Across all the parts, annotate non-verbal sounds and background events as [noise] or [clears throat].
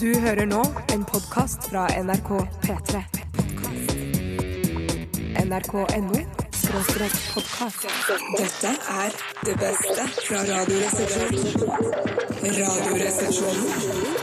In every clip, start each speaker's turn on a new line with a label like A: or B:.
A: Du hører nå en podkast fra NRK P3. NRK.no skråstrek podkast. Dette er det beste fra Radioresepsjonen. Radioresepsjonen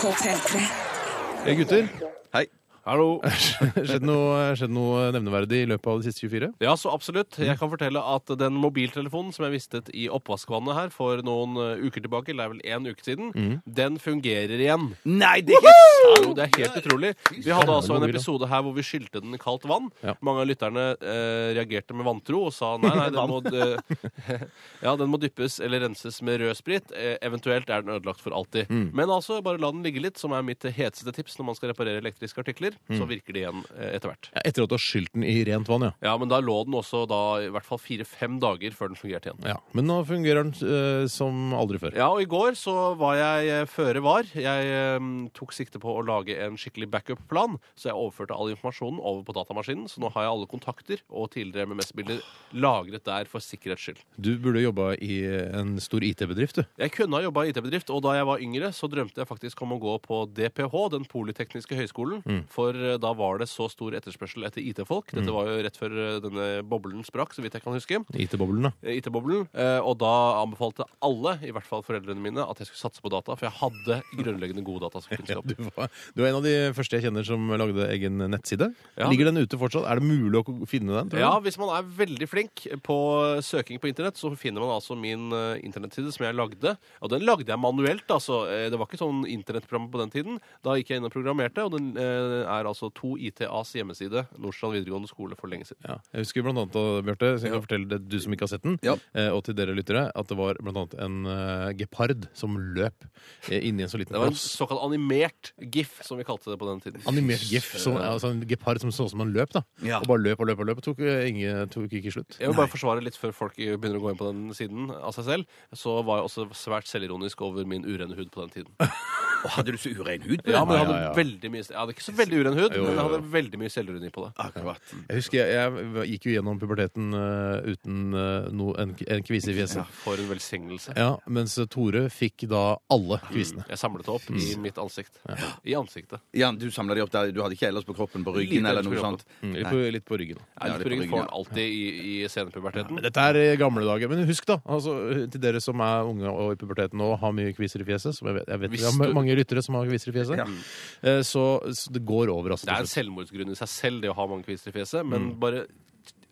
A: på P3.
B: Hey, Eh, gutter. [laughs]
C: Hei.
B: Hallo. Skjedd noe, skjedd noe nevneverdig i løpet av de siste 24?
C: Ja, så absolutt. Jeg kan fortelle at den mobiltelefonen som jeg mistet i oppvaskvannet her for noen eh, uker tilbake, eller det er vel en uke siden,
B: Mm.
C: den fungerer igjen.
B: Nei, det er ikke
C: Ja, jo, det er helt utrolig. Vi hadde altså en
B: mobil, da.
C: episode her hvor vi skylte den i kaldt vann.
B: Ja.
C: Mange av lytterne eh, reagerte med vantro og sa nei, nei,
B: [laughs]
C: den må, d- [laughs] ja, den må dyppes eller renses med rød sprit. Eh, eventuelt er den ødelagt for alltid.
B: Mm.
C: Men altså, bare la den ligge litt, som er mitt heteste tips når man skal reparere elektriske artikler.
B: Mm.
C: Så virker det igjen eh, etter hvert.
B: ja, Etter at du har skylt den i rent vann, ja.
C: Ja, men da lå den også da i hvert fall fire-fem dager før den fungerte igjen.
B: ja. Men nå fungerer den eh, som aldri før.
C: Ja, og i går så var jeg eh, føre var. Jeg eh, tok sikte på å lage en skikkelig backup-plan, så jeg overførte all informasjonen over på datamaskinen. Så nå har jeg alle kontakter og tidligere MMS-bilder lagret der for sikkerhets skyld.
B: Du burde jobba i en stor IT-bedrift, du.
C: Jeg kunne ha jobba i IT-bedrift, og da jeg var yngre, så drømte jeg faktisk om å gå på DPH, den polytekniske høgskolen, for eh, da var det så stor etterspørsel etter IT-folk. Dette var jo rett før eh, denne boblen sprakk, så vidt jeg kan huske.
B: IT-boblen, da.
C: IT-boblen, eh, og da anbefalte alle, i hvert fall foreldrene mine, at jeg skulle satse på data, for jeg hadde grunnleggende god
B: Ja,
C: datakunnskap.
B: du, var, du var en av de første jeg kjenner som lagde egen nettside.
C: Ja.
B: Ligger den ute fortsatt? Er det mulig å finne den? tror du?
C: Ja, hvis man er veldig flink på søking på internett, så finner man altså min eh, internettside som jeg lagde. Og den lagde jeg manuelt, altså. Eh, Det var ikke sånn internettprogram på den tiden. Da gikk jeg inn og programmerte, og den eh, er altså 2ITAs hjemmeside, Nordstrand videregående skole, for lenge siden.
B: Ja. Jeg husker blant annet, og Bjarte, så jeg kan fortelle det, du som ikke har sett den,
C: Ja.
B: eh, og til dere lyttere, at det var blant annet en eh, gepard som løp eh, inni en så liten
C: Det var en
B: kloss.
C: såkalt animert gif, som vi kalte det på den tiden.
B: Animert gif. Som, altså en gepard som så ut som han løp, da.
C: Ja.
B: Og bare løp og løp og løp. og Tok, eh, ingen, tok ikke slutt.
C: Jeg vil bare forsvare litt før folk begynner å gå inn på den siden av seg selv. Så var jeg også svært selvironisk over min urene hud på den tiden.
D: Og hadde du så urein hud? på
C: Ja,
D: den?
C: men jeg
B: Ja,
C: hadde
B: ja, ja.
C: veldig mye Jeg hadde ikke så veldig uren hud,
B: Jo, jo,
C: men jeg
B: jo.
C: hadde veldig mye selvironi på det.
D: Akkurat.
B: Jeg husker jeg, jeg gikk jo gjennom puberteten eh, uten eh, no, en, en kvise i fjeset. Ja.
C: For en velsignelse.
B: Mens eh, Tore fikk da
C: Mm.
B: alle kvisene.
C: Jeg samlet det opp i mitt ansikt. I ansiktet.
D: Ja, Du samla de opp der. Du hadde ikke ellers på kroppen, på ryggen
C: Lite
D: eller
C: ellers
D: noe
C: på
D: sånt?
B: Mm, Litt, på, litt på ryggen. da.
C: Ja,
D: det er
C: på
D: på
C: ryggen
D: ryggen,
C: får
D: ja.
C: den alltid i, i senpuberteten.
B: Dette er eh, gamle dager. Men husk, da, altså, til dere som er unge og i puberteten nå har mye kviser i fjeset som Jeg vet, jeg vet
C: Hvis
B: vi har ma-
C: du-
B: mange lyttere som har kviser i fjeset. eh, Så, så det går over, altså.
C: Det
B: til
C: er en
B: slutt.
C: selvmordsgrunn i seg selv, det å ha mange kvister i fjeset, men bare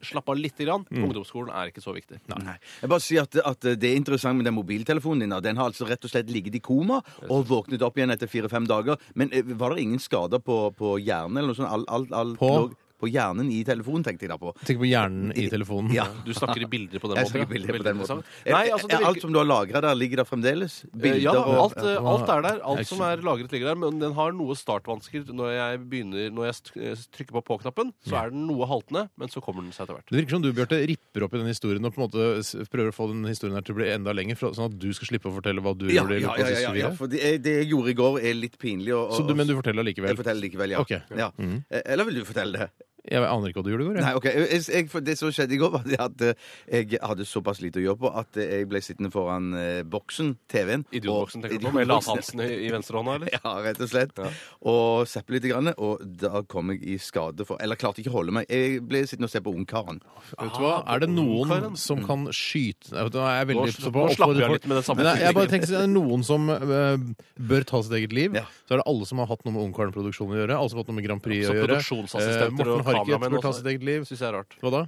C: slapp av lite grann. Ungdomsskolen er ikke så viktig.
D: Nei. Jeg bare sier at, at eh, det er interessant med den mobiltelefonen din. da. Den har altså rett og slett ligget i koma og våknet opp igjen etter fire-fem dager. Men eh, var det ingen skader på, på hjernen eller noe sånt? All, all, all,
B: På?
D: lå- på hjernen i telefonen, tenkte jeg da på.
B: Tenk på hjernen
C: [laughs]
B: i telefonen.
D: Ja.
C: Du snakker i bilder på den
D: Jeg
C: måten.
D: skal
C: ja.
D: ikke bilde på
C: Veldig
D: den måten.
C: interessant. Nei, altså, det
D: Er Alt
C: virker...
D: som du har lagra der, ligger der fremdeles? Bilder
C: Ja,
D: og
C: alt, eh, alt er der.
B: Jeg
C: Alt som
B: skjønner.
C: er lagret, ligger der. Men den har noe startvansker når jeg begynner Når jeg st- eh, trykker på på-knappen. Så er den noe haltende, men så kommer den seg etter hvert.
B: Det virker som du Bjørte, ripper opp i den historien og på en måte s- prøver å få den historien her til å bli enda lenger, for- sånn at du skal slippe å fortelle hva du
D: Ja,
B: gjorde. i
D: ja,
B: løpet av
D: ja,
B: de
D: ja,
B: siste
D: ja,
B: fire.
D: for det, det jeg gjorde i går, er litt pinlig. Og, og,
B: Så du, men du forteller allikevel?
D: Jeg forteller likevel, ja.
B: Ok. Mm.
D: ja. Eh, Eller vil du fortelle det?
B: Jeg aner ikke hva du gjorde i går. jeg.
D: Nei, ok. Jeg, jeg- jeg, for det som skjedde i går, var det at eh, jeg hadde såpass lite å gjøre på at eh, jeg ble sittende foran eh, boksen, TV-en. og-
C: Idiotboksen, tenker du på? Med Lars
D: Idiotboksen.
C: Hansen i, i venstrehånda,
B: [laughs]
C: eller?
D: [laughs] Ja, rett og slett.
C: Ja.
D: Og zappe litt, grann, og da kom jeg i skade for Eller klarte ikke å holde meg. Jeg ble sittende og se på Ungkaren.
B: Vet du hva?
C: Ah,
B: Er det
C: ungkaren.
B: noen som kan skyte Nei, vet du hva, jeg er veldig
C: Nå
B: ipse
C: sl-
B: på
C: nå slapper
B: oppfordrer
C: jeg
B: folk-
C: litt med den samme
B: Nei, Jeg bare
C: setningen.
B: tenker, så er det noen som eh, bør ta sitt eget liv,
D: Ja.
B: så er det alle som har hatt noe med Ungkaren-produksjonen å gjøre. Alle som har hatt noe med Grand Prix
C: Så
B: å gjøre.
C: altså produksjonsassistenter
B: Eh, Morten
C: og
B: Harket
C: kameramenn
B: bør ta
C: også.
B: sitt eget liv.
C: Syns jeg er rart.
B: Hva da?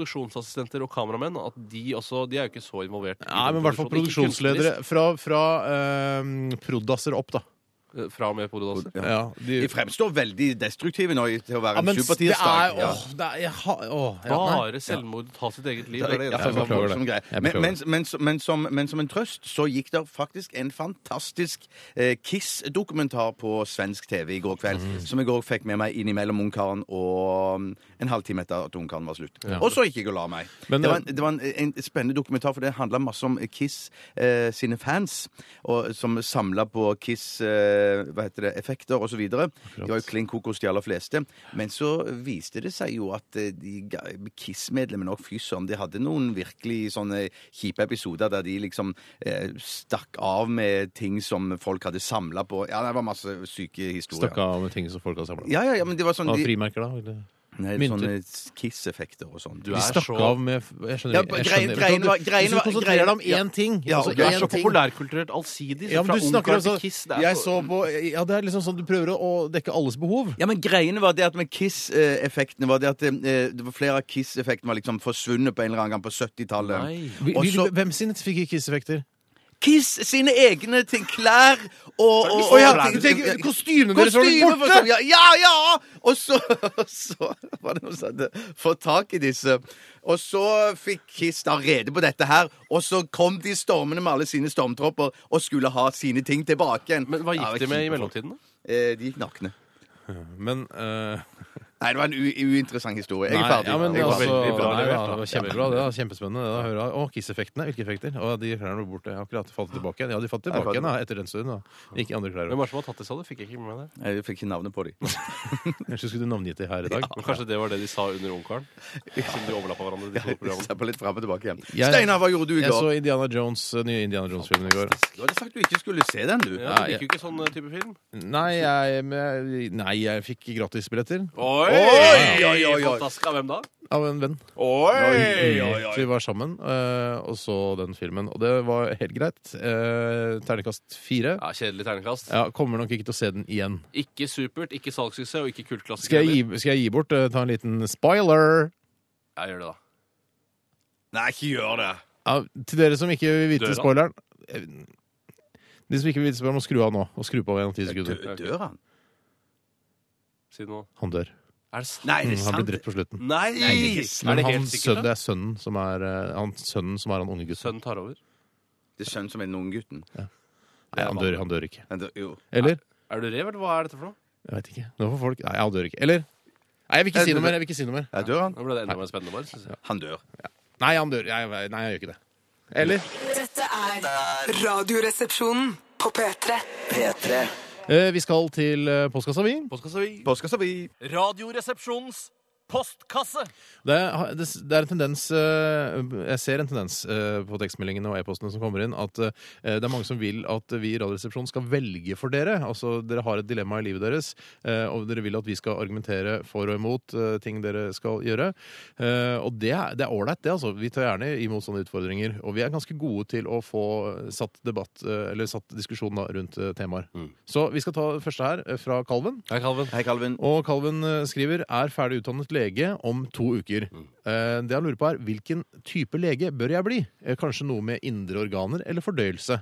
C: Produksjonsassistenter og kameramenn, at de også De er jo ikke så involvert. i
B: Nei, men i hvert fall
C: produksjon. Ikke
B: produksjonsledere fra, fra eh, Proddasser opp, da.
C: kunstnerisk, eh, Fra og med Pododanser.
B: Ja, de,
D: De fremstår veldig destruktive nå i- til å være
B: ja,
D: en
B: men det er
D: supertirsdag. Ja.
B: Åh, det er jeg har- åh, ja, nei.
C: Bare selvmord, ta sitt eget liv. Er det
D: Ja,
C: eneste
B: jeg
C: som-
B: beklager det.
D: voldsom greie.
B: Jeg
D: Men,
B: beklager
D: men, men, men, som, men som en trøst så gikk det faktisk en fantastisk eh, Kiss-dokumentar på svensk TV i går kveld,
B: Mm.
D: som jeg òg fikk med meg innimellom Ungkaren og mm, en halvtime etter at Ungkaren var slutt. Og så gikk jeg og la meg.
B: Men
D: det var,
B: det-
D: en, det var en, en spennende dokumentar, for det handla masse om Kiss eh, sine fans, og, som samla på Kiss eh, eh, hva heter det, effekter osv. De var jo klin kokos, de aller fleste. Men så viste det seg jo at eh, de ga- Kiss-medlemmene og fy søren, de hadde noen virkelig sånne kjipe episoder der de liksom eh, stakk av med ting som folk hadde samla på. Ja, det var masse syke historier.
B: Stakk av med ting som folk har samla.
D: Ja, ja, ja, men det var sånn
B: Av
D: de,
B: frimerker, da? Eller?
D: nei,
B: mynter.
D: sånne Kiss-effekter og sånn.
C: Du
B: De
C: er
B: stakk
C: så-
B: av med Jeg skjønner
D: Ja,
B: ikke. Jeg
D: greien-
B: skjønner.
D: greien var-
B: Du-
D: greien
B: Hvis
D: var-
B: du konsentrerer deg om
D: greien-
B: én ting
D: Ja,
B: altså
C: Du er
B: én
C: så
B: ting.
C: populærkulturelt allsidig. så
B: Ja, men
C: fra
B: du snakker
C: Ungkaren
B: altså
C: til Kiss. Det er
B: Jeg
C: så-
B: så på Ja, det er liksom sånn du prøver å, å dekke alles behov.
D: Ja, men greiene var det at med Kiss-effektene var det at eh, det var flere av Kiss-effektene var liksom forsvunnet på en eller annen gang på 70-tallet.
C: Nei.
B: Vi- vi-
D: Også-
B: Hvem sine fikk Kiss-effekter?
D: Kiss sine egne ting, klær og, og,
B: Å ja,
D: og-
B: tenk- tenk, kostymene deres var blitt
D: Kostyme for
B: borte!
D: sånn, ja, ja, ja! Og så, så var det noen som hadde fått tak i disse. Og så fikk Kiss da rede på dette her, og så kom de stormende med alle sine stormtropper og skulle ha sine ting tilbake igjen.
C: Men hva
D: Ja,
C: gikk
D: det
C: de
D: var
C: med i
D: kjipe folk.
C: mellomtiden?
B: altså.
C: da?
D: Eh, de gikk nakne.
B: Men eh,
D: Nei, det var en u uinteressant historie. Jeg
B: nei,
D: er ferdig.
B: Ja, men,
D: Jeg er
B: altså,
D: ferdig.
C: veldig bra
B: nei,
C: levert,
B: ja,
C: da.
B: det var kjempebra. Det var kjempespennende det, å høre. Og Kiss-effektene. Hvilke effekter? Og de klærne ble borte. Jeg har akkurat falt tilbake igjen. Ja, de falt tilbake igjen da, etter den stunden. da. Gikk i andre klær.
C: Hvem var det som hadde tatt det, sa du? Fikk jeg ikke med meg det.
D: Jeg fikk ikke navnet
B: [laughs]
D: på dem.
B: Kanskje skulle du navngitt det her i dag?
C: Men kanskje det var det de sa under Ungkaren? Siden de overlappa hverandre, de to programmene.
D: Slapp litt fram og tilbake igjen.
B: Jeg-
D: Steinar, hva gjorde du i
B: Jeg så
D: går?
B: Indiana Jones, eh, nye Indiana Jones-filmen i går.
D: Du hadde sagt du ikke skulle se den, du.
C: Ja,
B: Ja,
C: du liker jo ikke sånn eh, type film.
B: Nei, jeg, men- nei, jeg fikk gratisbilletter
C: Oi!
D: Oi, oi, oi.
C: Fantastisk. Av hvem da?
B: av en venn.
C: Oi!
B: Så vi var sammen eh, og så den filmen. Og det var helt greit. Eh, Ternekast fire.
C: Ja, Kjedelig terningkast.
B: Ja, kommer nok ikke til å se den igjen.
C: Ikke supert, ikke salgssuksess og ikke kultklassiker.
B: Skal
C: heller.
B: jeg gi, skal jeg gi bort? eh, ta en liten spoiler?
C: Ja, gjør det, da.
D: Nei, ikke gjør det.
B: Ja, til dere som ikke vil vite
C: Døra.
B: spoileren eh, De som ikke vil vite spoileren, må skru av nå. Og skru på igjen om ti sekunder.
D: Dø- Dør han?
C: Si det nå.
B: Han dør.
C: Er det sant?
D: Nei, det
B: Mm,
D: er
B: Han
D: sant.
B: blir drept på slutten.
C: Nei!
B: Men
C: er det
B: han,
C: helt sikkert?
B: sønnen,
C: da?
B: det er sønnen som er, eh, han, sønnen som er han unge gutten.
C: Sønnen tar over.
D: Det er sønnen som er den unge gutten.
B: Nei, han dør, han dør ikke.
D: Han dør- jo.
B: Eller?
C: Er du rev, eller hva er dette for noe?
B: Jeg vet ikke. Nå får folk Nei, han dør ikke. Eller? Nei, jeg vil ikke si noe mer. Jeg vil ikke si noe mer.
D: Ja, dør han?
C: Nå ble det enda mer spennende. bare, synes jeg.
D: Han dør.
B: Nei, han dør. Jeg, nei, jeg gjør ikke det. Eller?
E: Dette er Radioresepsjonen på P3.
F: P3
B: Eh, vi skal til eh, postkassa, vi.
C: Postkassa vi.
D: Påska vi.
G: Radioresepsjonens postkasse.
B: Det er, det er en tendens eh, Jeg ser en tendens eh, på tekstmeldingene og e-postene som kommer inn, at eh, det er mange som vil at vi i Radioresepsjonen skal velge for dere. Altså, dere har et dilemma i livet deres, eh, og dere vil at vi skal argumentere for og imot eh, ting dere skal gjøre. Eh, Og det er det er ålreit, det, altså. Vi tar gjerne imot sånne utfordringer. Og vi er ganske gode til å få satt debatt, eh, eller satt diskusjon da, rundt eh, temaer. Så vi skal ta det første her, eh, fra Kalven.
C: Hei, Kalven.
D: Hei, Kalvin.
B: Og Kalven eh, skriver er ferdig utdannet lege om to uker.
C: Mm.
B: Eh, Det han lurer på er hvilken type lege bør jeg bli? Eh, Kanskje noe med indre organer eller fordøyelse?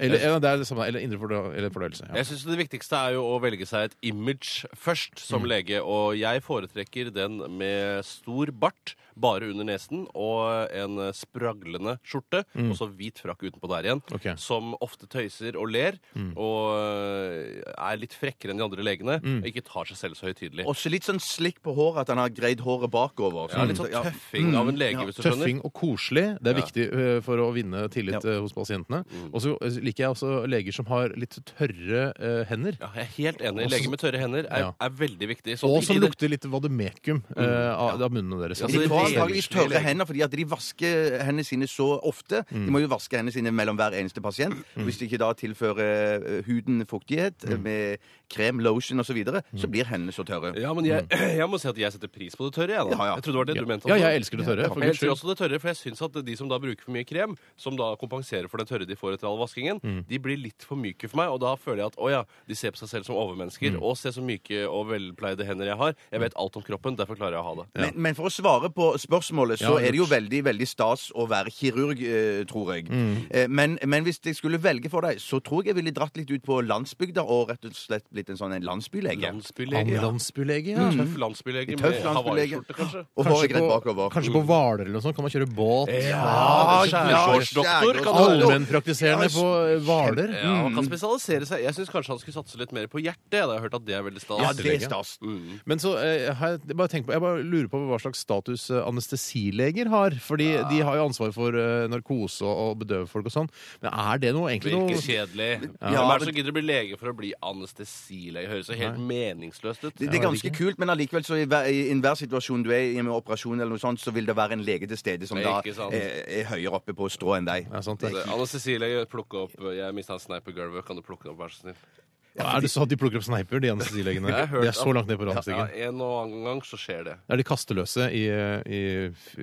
B: Eller, ja, det er det samme, eller indre fordø- eller fordøyelse. Ja.
C: Mm. Jeg synes Det viktigste er jo å velge seg et image først som
B: Mm.
C: lege. Og jeg foretrekker den med stor bart bare under nesen og en spraglende skjorte. Og så hvit frakk utenpå der igjen.
B: Mm. Ok. Mm.
C: Som ofte tøyser og ler. Og øh, er litt frekkere enn de andre legene.
B: Mm.
C: Og ikke tar seg selv så høytidelig.
D: Også litt sånn slikk på håret, at han har greid håret bakover.
B: Mm.
C: Ja, litt sånn
D: Ja.
C: tøffing av en lege, hvis du skjønner.
B: Tøffing og koselig. Det er viktig eh, for å vinne tillit
D: Ja.
B: eh, hos pasientene.
C: Mm.
B: Og så eh, liker jeg også leger som har litt tørre eh, hender.
C: Ja, jeg er helt enig.
B: Også-
C: Lege med tørre hender er,
B: Ja.
C: er veldig viktig. sånn
B: Og
C: at
B: som
C: ikke det- Mm.
B: lukter litt vademekum eh, av, av munnene deres.
C: Ja,
D: De
C: det
D: får
C: er
D: antakeligvis
C: veldig
D: tørre hender fordi at de vasker hendene sine så ofte.
B: Mm.
D: De må jo vaske hendene sine mellom hver eneste pasient. Hvis de ikke da tilfører eh, huden fuktighet
B: Mm.
D: eh, med krem, lotion osv., så, videre, så blir hendene så tørre.
C: Ja, men jeg, [clears throat] jeg må si at jeg setter pris på det tørre. Jeg, da.
D: Ja, ja.
C: jeg trodde det var det du mente.
B: ja,
C: også.
B: jeg elsker det tørre. For
C: Jeg
B: guds
C: elsker
B: skyld.
C: også det tørre, for jeg syns at de som da bruker for mye krem, som da kompenserer for det tørre de får etter all vaskingen, de blir litt for myke for meg, og da føler jeg at å ja, de ser på seg selv som overmennesker. Og se så myke og velpleide hender jeg har. Jeg vet alt om kroppen, derfor klarer jeg å ha det.
D: Men, men for å svare på spørsmålet, så
B: Ja,
D: er det jo
B: lurt.
D: veldig veldig stas å være kirurg, eh, tror jeg.
B: Mm.
D: Eh, men, men hvis jeg skulle velge for deg, så tror jeg jeg ville dratt litt ut på landsbygda og rett og slett blitt en sånn en landsbylege.
C: Landsbylege.
B: Ambulansebyllege, ja. Mm.
C: Tøff landsbylege.
D: Tøff
C: med-
D: transpirlege.
C: Hawaiiskjorte, kanskje? Mm.
D: Og håret greit bakover.
B: kanskje på Hvaler eller noe sånt kan man kjøre båt.
C: Ja, skjærgårdsdoktor kan det være.
B: Allmennpraktiserende på eh, Hvaler. Mm.
C: Ja, han kan spesialisere seg. Jeg syns kanskje han skulle satse litt mer på hjertet. Da. Jeg har hørt at det er veldig stas. Mm.
D: Ja, det er stas.
B: Men så eh, har jeg bare tenkt på Jeg bare lurer på hva slags status eh, anestesileger har. Fordi de har jo ansvar for eh, narkose og, og bedøve folk og sånn. Men er det noe egentlig
C: Virker
B: noe
C: kjedelig.
D: Ja,
C: Hvem er
D: men-
C: det som gidder å bli lege for å bli anestesilege? Høres jo helt meningsløst ut.
D: Det, det er ganske kult, men allikevel så i hver, i enhver situasjon du er i med operasjon eller noe sånt, så vil det være en lege til stede som
C: Det
D: da
C: er ikke sant.
D: er, er høyere oppe på strå enn deg.
B: ja, sant, det.
C: Altså, Anestesilege, plukke opp Jeg mista en sneip i gulvet. Kan du plukke den opp, vær så snill?
B: Er det så at de plukker opp sneiper, de anestesilegene?
C: [laughs] Jeg har hørt
B: De er så
C: at-
B: langt ned på
C: Ja,
B: randstigen.
C: en og annen gang så skjer det.
B: Det er de kasteløse i, i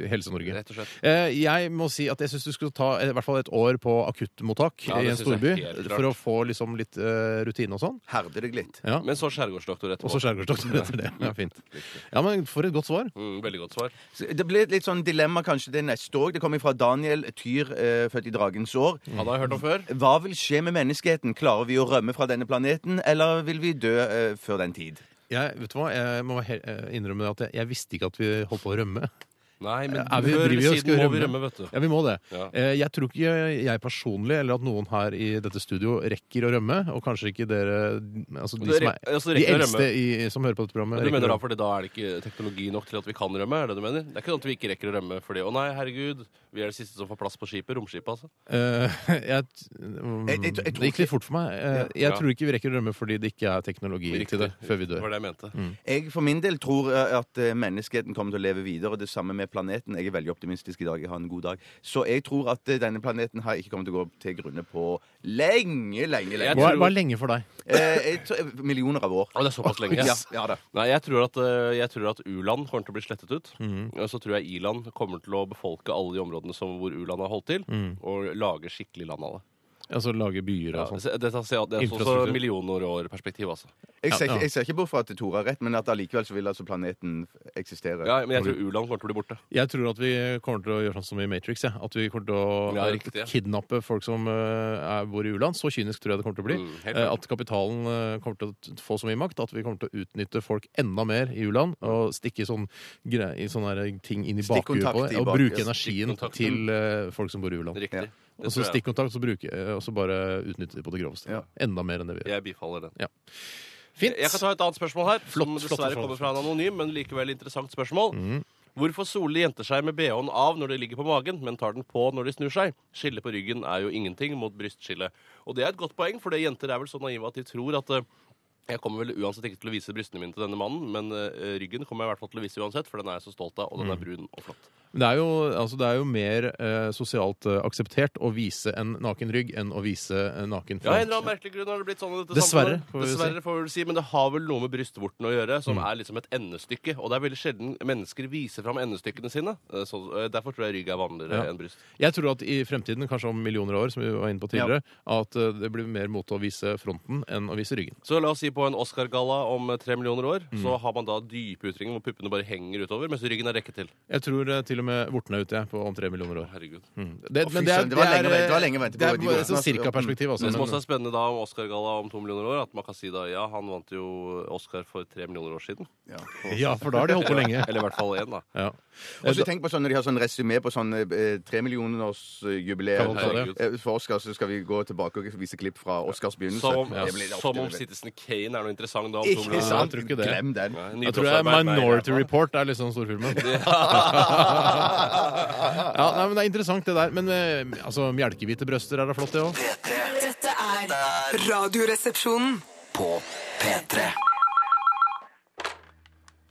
B: Helse-Norge.
C: Rett og slett.
B: Eh, Jeg må si at jeg syns du skulle ta eh, i hvert fall et år på akuttmottak
C: Ja,
B: i
C: det
B: en
C: synes jeg
B: storby
C: er helt klart.
B: for å få liksom litt eh, rutine og sånn.
D: Herder deg litt.
B: Ja.
C: Men så
B: Og
C: skjærgårdsdoktor
B: så
C: etterpå.
B: skjærgårdsdoktor etter det. Ja, fint. Ja, men For et godt svar.
C: Mm, veldig godt svar.
D: Så Det blir et litt sånn dilemma kanskje det neste år. Det kommer fra Daniel Tyr, eh, født i Dragens år.
B: Mm.
C: Han har jeg hørt om før.
D: Hva vil skje med menneskeheten? Klarer vi å rømme fra denne planeten, eller vil vi dø eh, før den tid?
B: Jeg, vet du hva? jeg må he- eh, innrømme at jeg, jeg visste ikke at vi holdt på å rømme.
C: Nei, men
B: Er vi- driver vi
C: før
B: og skal
C: eller siden må vi
B: rømme?
C: rømme, vet du.
B: [laughs] Ja, vi må det.
C: Ja.
B: Eh, Jeg tror ikke jeg personlig eller at noen her i dette studio rekker å rømme. Og kanskje ikke dere altså de, som
C: Dere-
B: er,
C: altså, dere
B: de
C: rekker å
B: eldste i, som hører på dette programmet.
C: Men Du
B: rekker
C: mener da
B: å rømme.
C: fordi da er det ikke teknologi nok til at vi kan rømme? er Det du mener? Det er ikke sånn at vi ikke rekker å rømme fordi å nei, herregud, vi er det siste som får plass på skipet. Romskipet, altså.
B: Eh, [laughs] jeg, mm,
D: Jeg- jeg- jeg tror
B: det gikk litt fort for meg. Eh, Jeg
C: Ja.
B: tror ikke vi rekker å rømme fordi det ikke er teknologi til det før vi
C: Det
B: dør.
C: var det jeg mente.
B: Mm.
D: Jeg for min del tror eh, at eh, menneskeheten kommer til å leve videre, og det samme med planeten. Jeg er veldig optimistisk i dag. Jeg har en god dag. Så jeg tror at eh, denne planeten her ikke kommer til å gå til grunne på lenge, lenge,
C: Jeg
D: lenge.
B: Hva,
C: tror-
B: hva er lenge for deg?
D: Eh, jeg tror, millioner av år.
C: Å, det er såpass lenge.
D: Ja,
C: ass.
D: ja da.
C: Nei, jeg tror at, eh, jeg tror at u-land kommer til å bli slettet ut.
B: Mhm.
C: Og så tror jeg i-land kommer til å befolke alle de områdene som, hvor u-land har holdt til,
B: Mhm.
C: og lage skikkelig land av det.
B: Altså lage byer og sånn?
C: Så Dette ser jeg- det er sånn
B: Infrastruktur.
C: så millioner-år-perspektiv, altså.
D: Jeg ser,
B: Ja, ja.
D: ikke- jeg ser ikke bort fra at Tore har rett, men at allikevel så vil altså planeten eksistere.
C: Ja, men jeg tror u-land kommer til å bli borte.
B: Jeg tror at vi kommer til å gjøre sånn som i Matrix. Ja. At vi kommer til å
C: Ja,
B: eh,
C: riktig, ja.
B: kidnappe folk som eh, er, bor i u-land. Så kynisk tror jeg det kommer til å bli.
C: Mm, helt
B: Eh,
C: klart.
B: at kapitalen eh, kommer til å t- få så mye makt at vi kommer til å utnytte folk enda mer i u-land. Og stikke sånn gre i sånne her ting inn i bakhuet
D: Stikkontakt
B: på det.
D: i
B: Og
D: bak-
B: bruke
D: ja,
B: energien
C: stikkontakten.
B: til eh, folk som bor i u-land.
C: Riktig.
D: Ja.
C: Det
B: Og så
C: tror jeg.
B: stikkontakt, så bruke, eh, og så bare utnytte de på det groveste.
D: Ja.
B: Enda mer enn det vi gjør.
C: Jeg bifaller den.
B: Fint!
C: Jeg kan ta et annet spørsmål her, som
B: Flott, flott
C: dessverre
B: spørsmål.
C: kommer fra en anonym, men likevel interessant spørsmål. Hvorfor soler jenter seg med bh-en av når de ligger på magen, men tar den på når de snur seg? Skille på ryggen er jo ingenting mot brystskille. Og det er et godt poeng, for det jenter er vel så naive at de tror at eh, jeg kommer vel uansett ikke til å vise brystene mine til denne mannen, men eh, ryggen kommer jeg i hvert fall til å vise uansett, for den er jeg så stolt av, og
B: Mm.
C: den er brun og flott.
B: Men Det er jo, altså det er jo mer eh, sosialt eh, akseptert å vise en naken rygg enn å vise en naken
C: Ja, en eller
B: front.
C: annen merkelig grunn har det blitt sånn i dette
B: Dessverre,
C: samfunnet.
B: får vi vel
C: Dessverre, får vi vel si. Men det har vel noe med brystvorten å gjøre, som er liksom et endestykke. Og det er veldig sjelden mennesker viser fram endestykkene sine. Eh, Så, eh, derfor tror jeg rygg er vanligere
B: Ja.
C: enn bryst.
B: Jeg tror at i fremtiden, kanskje om millioner av år, som vi var inne på tidligere, at eh, det blir mer mote å vise fronten enn å vise ryggen.
C: Så la oss si på en Oscar-galla om eh, tre millioner år, så har man da dype utringer hvor puppene bare henger utover, mens ryggen er rekket til.
B: Jeg tror eh, til og med vortene er ute jeg, på om tre millioner år.
C: Herregud.
B: Det,
D: Å, fy søren, det var lenge å vente- det var lenge å vente på
B: det er bare
D: de vortene,
B: sånn
D: altså.
B: cirka perspektiv, altså.
C: Det som
B: men-
C: også er spennende da om Oscar-galla om to millioner år, at man kan si da ja, han vant jo Oscar for tre millioner år siden.
B: ja, for da har de holdt på lenge.
C: Eller i hvert fall én, da.
B: Ja.
D: Og så tenk på sånn når de har sånn resymé på sånn
B: Kan
D: tremillionersjubileum
B: man ta det?
D: for Oscar, Eh, så skal vi gå tilbake og vise klipp fra Oscars begynnelse.
C: Som om,
D: Det blir det
C: som
D: ofte,
C: om
D: det blir.
C: Citizen Kane er noe interessant da om to
D: Ikke
C: millioner år.
D: sant?
B: tror ikke det.
D: Glem den.
C: Nei,
B: Jeg tror det er
C: nybrottsarbeid med
B: Minority
C: jernbanen.
B: Report er liksom storfilmen. Ja, nei, men Det er interessant, det der. Men eh, altså, mjelkehvite brøster er da flott, det òg.
E: Dette er Radioresepsjonen.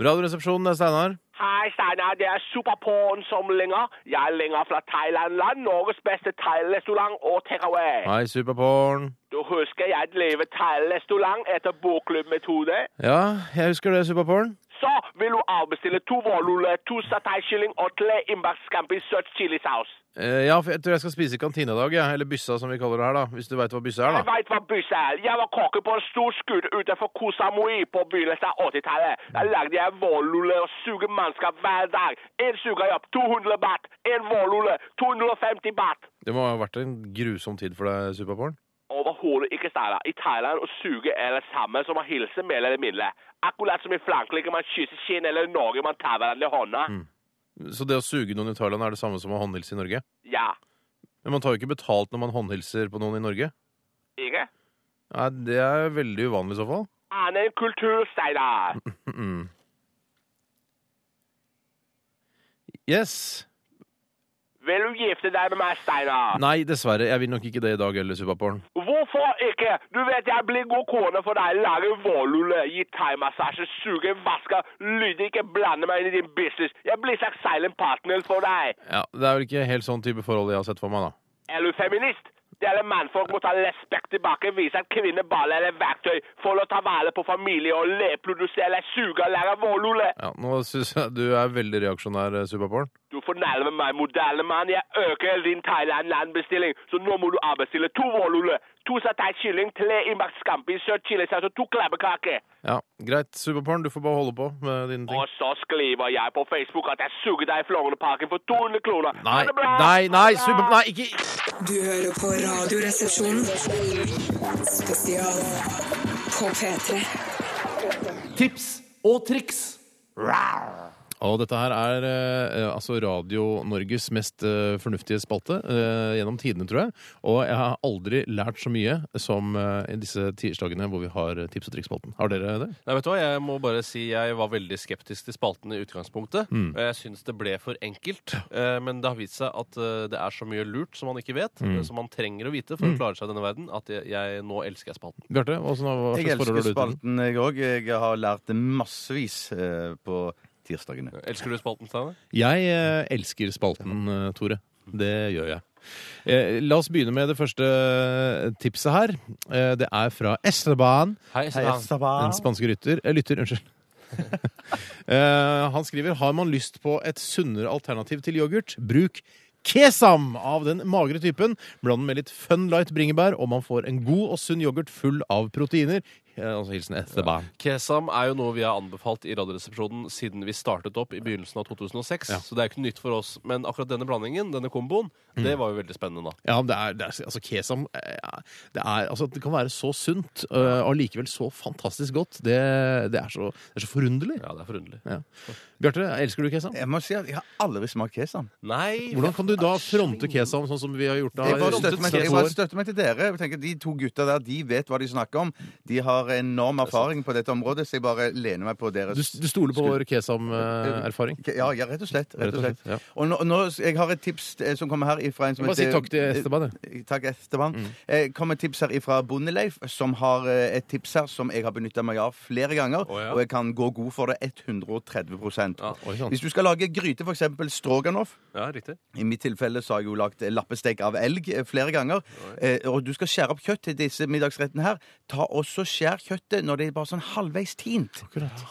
B: Radioresepsjonen, det er Steinar.
F: Hei, Steinar. Det er Superporn som lenger. Jeg er lenger fra Thailand-land, Norges bedste thai-restaurant og takeaway.
B: Hei, Superporn.
F: Du husker jeg drev thai-restaurant etter bokklubbmetode?
B: Ja, jeg husker det, Superporn.
F: Så vil du avbestille to vårruller, to satay-kylling og tre innbaktskampi søt chilisaus.
B: Eh, ja, for jeg tror jeg skal spise i kantina i dag, jeg. Eller byssa, som vi kaller det her, da. Hvis du veit hva byssa er,
F: Jeg
B: da.
F: veit hva bysse er. Jeg var kokke på en stor skute utenfor Koh Samui på begynnelsen av 80-tallet. Der lagde jeg vårruller og suger mannskap hver dag. Én suger jeg opp 200 baht, én vårrulle 250 baht.
B: Det må ha vært en grusom tid for deg, Superporn.
F: Overhodet
H: hodet ikke stille. I Thailand å suge er det samme som å hilse med eller milde. Akkurat som i Frankrike man kysser kinn, eller i Norge man tar hverandre i hånda.
B: Så det å suge noen i Thailand er det samme som å håndhilse i Norge?
H: Ja.
B: Men man tar jo ikke betalt når man håndhilser på noen i Norge.
H: Ikke?
B: Nei, Det er veldig uvanlig i så fall.
H: Annen kultur, Steinar.
B: Mm. Yes.
H: Vil du gifte deg med meg, Steinar?
B: Nei, dessverre. Jeg vil nok ikke det i dag heller, Subaporn.
H: Hvorfor ikke? Du vet jeg blir god kone for deg. Lage vårlulle, gi thaimassasje, suge, vaske, lyde, ikke blande meg inn i din business. Jeg blir slags silent partner for deg.
B: Ja, Det er vel ikke helt sånn type forhold jeg har sett for meg, da.
H: Er du feminist? Det er det mannfolk må ta respekt tilbake, vise at kvinner bare er et verktøy for å ta vare på familie og reprodusere, suge og lære vårlulle.
B: Ja, Nå syns jeg du er veldig reaksjonær, eh, Subaporn.
H: Du fornærmer meg, moderne mann. Jeg øker din Thailand-landbestilling, så nå må du avbestille to vårlulle, to satay kylling, tre innbakt scampi, søt chilisaus og to klabbekaker.
B: Ja, greit, Subaporn. Du får bare holde på med dine ting.
H: Og så skriver jeg på Facebook at jeg suger deg i Flångneparken for 200 kroner. Ha
B: Nei,
H: det bra!
B: nei, nei, Super... Nei, ikke
A: Du hører på Radioresepsjonen. Spesial på P3.
I: Tips og triks.
B: Og dette her er eh, altså Radio Norges mest eh, fornuftige spalte eh, gjennom tidene, tror jeg. Og jeg har aldri lært så mye som eh, i disse tirsdagene hvor vi har eh, tips- og triksspalten. Har dere det?
C: Nei, vet du hva? Jeg må bare si jeg var veldig skeptisk til spalten i utgangspunktet.
B: Mm.
C: Og jeg syns det ble for enkelt. Eh, Men det har vist seg at eh, det er så mye lurt som man ikke vet,
B: Mm.
C: eh, som man trenger å vite for å klare seg i denne verden, at jeg, jeg nå elsker jeg spalten.
B: Bjarte, hva sånn- hva
D: Jeg
B: slags forhold har du til
D: elsker
B: den?
D: spalten, jeg òg. Jeg har lært det massevis eh, på tirsdagene.
C: Elsker du spalten, Steinar?
B: Jeg eh, elsker spalten, eh, Tore. Det gjør jeg. Eh, la oss begynne med det første tipset her. Eh, det er fra Esteban.
C: Hei, Steinar.
B: Den spanske rytter, eh, lytter, unnskyld. [laughs] Eh, han skriver har man lyst på et sunnere alternativ til yoghurt, bruk kesam av den magre typen. Bland den med litt Fun Light bringebær, og man får en god og sunn yoghurt full av proteiner. Eh, Altså hilsen Esteban.
C: Kesam er jo noe vi har anbefalt i Radioresepsjonen siden vi startet opp i begynnelsen av 2006.
B: Ja.
C: Så det er ikke nytt for oss. Men akkurat denne blandingen, denne komboen,
B: Mm.
C: det var jo veldig spennende da.
B: Ja, men det er, det er, altså Kesam eh, ja, det, er, altså, det kan være så sunt eh, og likevel så fantastisk godt. Det, det, er, så, det er så forunderlig.
C: Ja, det er forunderlig.
B: Ja. Bjarte, elsker du kesam?
D: Jeg må si at jeg har aldri smakt kesam.
C: Nei,
B: Hvordan kan du da fronte kesam sånn som vi har gjort? Da,
D: Jeg bare
B: i-
D: støtter meg, til- jeg bare støtter meg til dere. Jeg tenker, De to gutta der de vet hva de snakker om. De har enorm erfaring på dette området, så jeg bare lener meg på deres
B: Du, du stoler på vår eh, kesam-erfaring?
D: ja, ja, rett og slett. Rett og slett.
B: ja.
D: Og nå, nå, jeg har et tips eh, som kommer her ifra en som
B: Bare si takk til
D: eh,
B: Esteban. Mm. du.
D: Takk, Esteban. Eh, kommer tips her ifra Bondeleif, som har eh, et tips her som jeg har benytta meg av flere ganger,
C: Å, ja.
D: og jeg kan gå god for det 130
C: Ja,
B: Oi sånn. sann.
D: Hvis du skal lage gryte, f.eks. stroganoff
C: ja, riktig.
D: I mitt tilfelle så har jeg jo lagd lappestek av elg eh, flere ganger. Eh, og du skal skjære opp kjøtt til disse middagsrettene her. Ta også skjær kjøttet når det er bare sånn halvveis tint.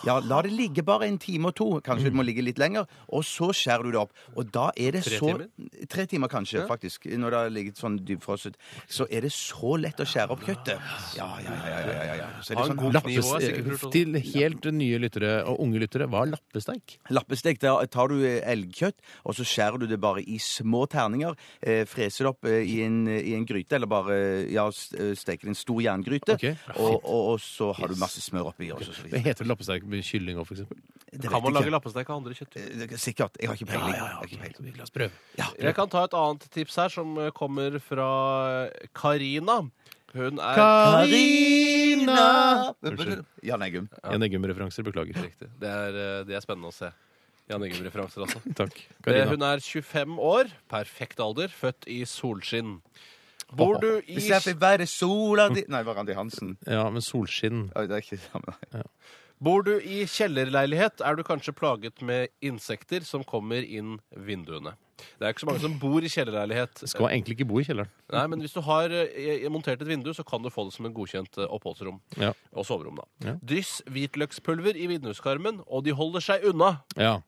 D: Ja, La det ligge bare en time og to. Kanskje det må ligge litt lenger. Og så skjærer du det opp. Og da er det
C: Mm. Tre
D: så
C: timer?
D: Tre timer kanskje, faktisk. Når det har ligget sånn dypfrosset. Så er det så lett å skjære opp kjøttet. Ja, ja, ja. ja, ja, ja. Så er
C: Ha
D: det
C: en
D: sånn
C: god
D: lapp-
C: Nivået er sikkert lurt
B: Lappes, eh,
C: også.
B: til helt nye lyttere og unge lyttere, hva er lappesteik?
D: Lappestek, der tar du eh, elgkjøtt, og så skjærer du det bare i små terninger. Eh, freser det opp eh, i en, i en gryte, eller bare eh, ja, s- eh, steker en stor jerngryte.
B: Ok.
D: Og, og, og så har du masse smør oppi. Og så, så
B: Det
D: videre.
B: heter lappesteik med kylling òg, for eksempel.
D: Det
C: Kan man
D: vet jeg
C: lage
D: ikke.
C: lappestek av andre kjøttdeig?
D: Eh, det- Sikkert. Jeg har ikke peiling. Jeg har ikke peiling.
B: La oss prøve.
C: Jeg kan ta et annet tips her, som eh, kommer fra Karina. Hun er
B: Karina! Unnskyld.
D: Jan Eggum.
B: En Eggum-referanser, beklager.
C: Riktig. Det er, eh, det er spennende å se. Jan Eggum-referanser, altså.
B: Takk.
C: Eh,
B: Karina.
C: Hun er 25 år, perfekt alder, født i solskinn. Bor du i
D: Hvis jeg fikk være sola di Nei, det var Randi Hansen.
B: Ja, men solskinn
D: Oi, det er ikke det samme.
C: Bor du i kjellerleilighet, er du kanskje plaget med insekter som kommer inn vinduene. Det er ikke så mange som bor i kjellerleilighet.
B: skal egentlig ikke bo i kjelleren.
C: Nei, men hvis du har eh, montert et vindu, så kan du få det som en godkjent eh, oppholdsrom.
B: Ja.
C: Og soverom, da.
B: Ja.
C: Dryss hvitløkspulver i vinduskarmen, og de holder seg unna.
B: Ja.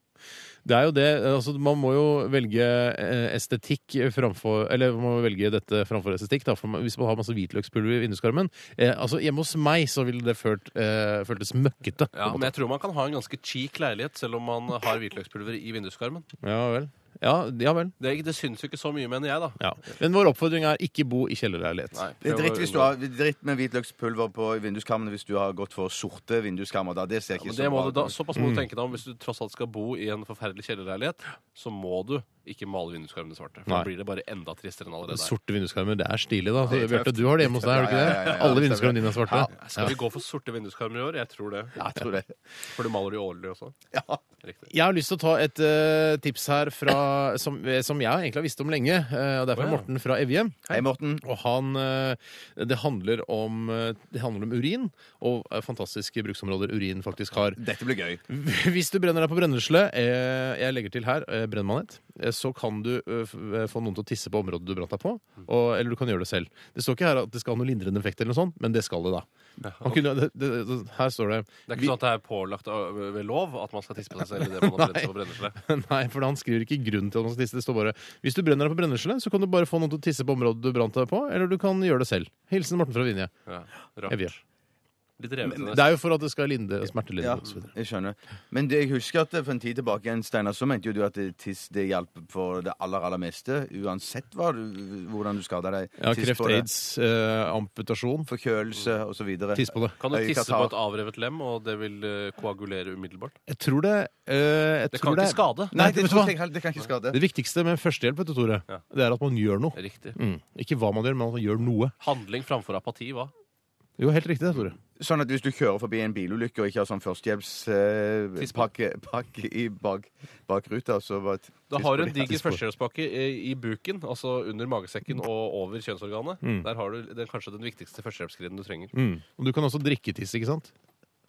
B: Det er jo det. Altså, man må jo velge eh, estetikk framfor Eller man må velge dette framfor estetikk, da, for man- hvis man har masse hvitløkspulver i vinduskarmen. Eh, altså, hjemme hos meg så ville det følt, eh, føltes møkkete. på
C: Ja,
B: en
C: men
B: måte.
C: jeg tror man kan ha en ganske cheek leilighet selv om man har hvitløkspulver i vinduskarmen.
B: ja vel. Ja, ja vel.
C: Det, er ikke- det syns jo ikke så mye, mener jeg, da.
B: Ja. Men vår oppfordring er ikke bo i kjellerleilighet.
C: Nei,
D: Det er
C: prøv å
D: dritt, hvis du
C: unngå
D: har, det er dritt med hvitløkspulver på vinduskarmene hvis du har gått for sorte vinduskarmer. Da. Det ser
C: Ja,
D: ikke
C: men det må
D: så
C: du
D: bra
C: da,
D: ut.
C: såpass må
B: Mm.
C: du tenke deg om hvis du tross alt skal bo i en forferdelig kjellerleilighet, så må du ikke male vinduskarmene svarte. For
B: Nei.
C: da blir det bare enda tristere enn allerede er.
B: Sorte vinduskarmer, det er stilig, da.
D: det er
B: Bjarte,
D: tøft.
B: du har det hjemme hos deg, har du ikke
D: Ja,
B: det?
D: ja, ja, ja,
B: Alle
D: det
B: vinduskarmene
D: stemmer.
B: dine er svarte.
C: Skal vi gå for sorte vinduskarmer i år? Jeg tror det.
D: Ja, jeg tror det.
C: For du maler det jo årlig også.
D: Ja.
C: Riktig.
B: Jeg har lyst til å ta et eh, tips her fra, som, som jeg egentlig har visst om lenge. eh, og Det er fra
C: Å, ja.
B: Morten fra Evje.
D: Hei, Morten.
B: Og han, eh, det, handler om, eh, det handler om urin, og eh, fantastiske bruksområder urin faktisk har.
D: Dette blir gøy.
B: [laughs] Hvis du brenner deg på brennesle, eh, jeg legger til her eh, brennmanet, eh, så kan du eh, f- eh, få noen til å tisse på området du brant deg på, og, eller du kan gjøre det selv. Det står ikke her at det skal ha noen lindrende effekt, eller noe sånt, men det skal det da. Han kunne, det, det, det, her står det
C: Det er ikke sånn at det er pålagt av- ved lov at man skal tisse på seg selv i det man har brent seg på brennesle.
B: [laughs] Nei, for han skriver ikke grunn til at man skal tisse. Det står bare hvis du brenner deg på brennesle, så kan du bare få noen til å tisse på området du brant deg på, eller du kan gjøre det selv. Hilsen Morten fra Vinje.
C: Ja,
B: Jeg
C: rart.
B: vet.
C: Litt revete.
B: Det er jo for at det skal linde smertelindring
D: Ja,
B: og så videre.
D: jeg skjønner. Men det jeg husker at for en tid tilbake igjen, Steinar, så mente jo du at det- tiss det hjalp for det aller, aller meste. Uansett hva, du- hvordan du skada deg.
B: Ja,
D: Tiss
B: kreft,
D: på det.
B: aids, eh, amputasjon.
D: Forkjølelse og så videre.
B: Tiss på det.
C: Kan du
D: Øyekatarr.
C: tisse på et avrevet lem, og det vil eh, koagulere umiddelbart?
B: Jeg tror det eh, jeg
C: Det
B: tror
C: kan ikke skade.
D: Nei,
B: Nei,
D: det,
B: vet du
D: tror
B: hva?
D: jeg, det kan ikke skade.
B: Det viktigste med førstehjelp, vet du, Tore,
C: Ja.
B: det er at man gjør noe.
C: Riktig.
B: Mm. Ikke hva man gjør, men at man gjør noe.
C: Handling framfor apati, hva?
B: Jo, helt riktig det, Tore.
D: Sånn at hvis du kjører forbi en bilulykke og ikke har sånn
C: Tiss på.
D: førstehjelpspakke pakke i bak, bakruta, så bare t-
C: Da
D: tiss
C: har
D: på
C: du en
D: det.
C: diger førstehjelpspakke i, i buken, altså under
B: Mm.
C: magesekken og over kjønnsorganet. Der har du den, kanskje den viktigste førstehjelpsgriden du trenger.
B: Mm. Og du kan også drikke tiss, ikke sant?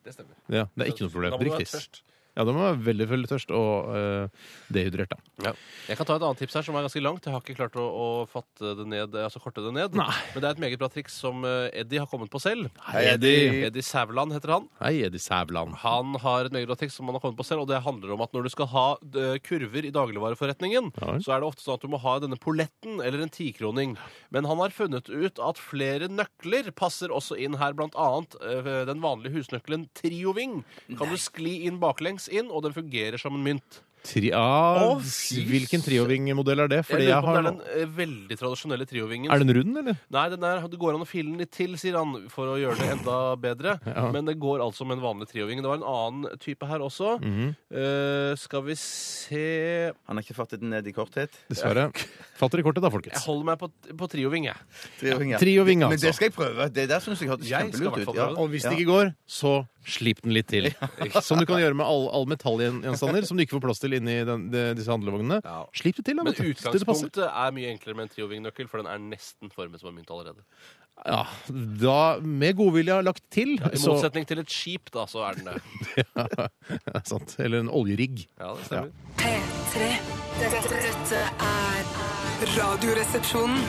C: Det stemmer.
B: Ja, det er ikke noe problem.
C: Da må du
B: Drikk
C: være
B: tiss.
C: tørst.
B: Ja, da må man være veldig, veldig tørst og eh, dehydrert, da.
C: Ja. Jeg kan ta et annet tips her som er ganske langt. Jeg har ikke klart å, å fatte det ned, altså korte det ned.
B: Nei.
C: Men det er et meget bra triks som eh, Eddie har kommet på selv.
B: Hei, Eddie.
C: Eddie Sævland heter han.
B: Hei, Eddie Sævland.
C: Han har et meget bra triks som han har kommet på selv, og det handler om at når du skal ha eh, kurver i dagligvareforretningen,
B: Ja vel.
C: så er det ofte sånn at du må ha denne polletten eller en tikroning. Men han har funnet ut at flere nøkler passer også inn her, blant annet eh, den vanlige husnøkkelen Trioving. Kan du skli inn baklengs inn, og den fungerer som en mynt.
B: Tri ah,
C: Å, fy
B: hvilken trioving-modell er det? Fordi
C: jeg
B: jeg
C: lurer på
B: har
C: om det er den eh, veldig tradisjonelle triovingen.
B: Er den rund, eller?
C: Nei, den der, det går an å file den litt til, sier han, for å gjøre det enda bedre.
B: Ja.
C: Men det går altså med en vanlig trioving. Det var en annen type her også. Eh, skal vi se
D: Han har ikke fattet den ned i korthet.
B: Dessverre. Fatter i kortet, da,
C: Jeg
B: folkens.
C: holder meg på, på trioving, jeg.
D: Trioving, ja.
B: Trioving,
D: Men
B: altså.
D: det skal jeg prøve. Det der syns jeg hørtes
C: Jeg skal i
D: kjempelurt
C: hvert
D: ut.
C: fall
D: Ja.
C: prøve
B: Og hvis det
D: Ja.
B: ikke går, så slip den litt
C: [laughs]
B: til. Som du kan gjøre med alle all metallgjenstander som du ikke får plass til inni den, de, disse handlevognene.
C: Ja.
B: Slip det til, da.
C: Men
B: vet du, til det passer.
C: utgangspunktet er mye enklere med en trioving-nøkkel, for den er nesten formet som en mynt allerede.
B: Ja, da, med godvilje lagt til,
C: I
B: så
C: motsetning til et skip, da, så er den det.
B: [laughs] ja, sant. Eller en oljerigg.
C: Ja, det stemmer.
E: P3. Dette, dette er Radioresepsjonen.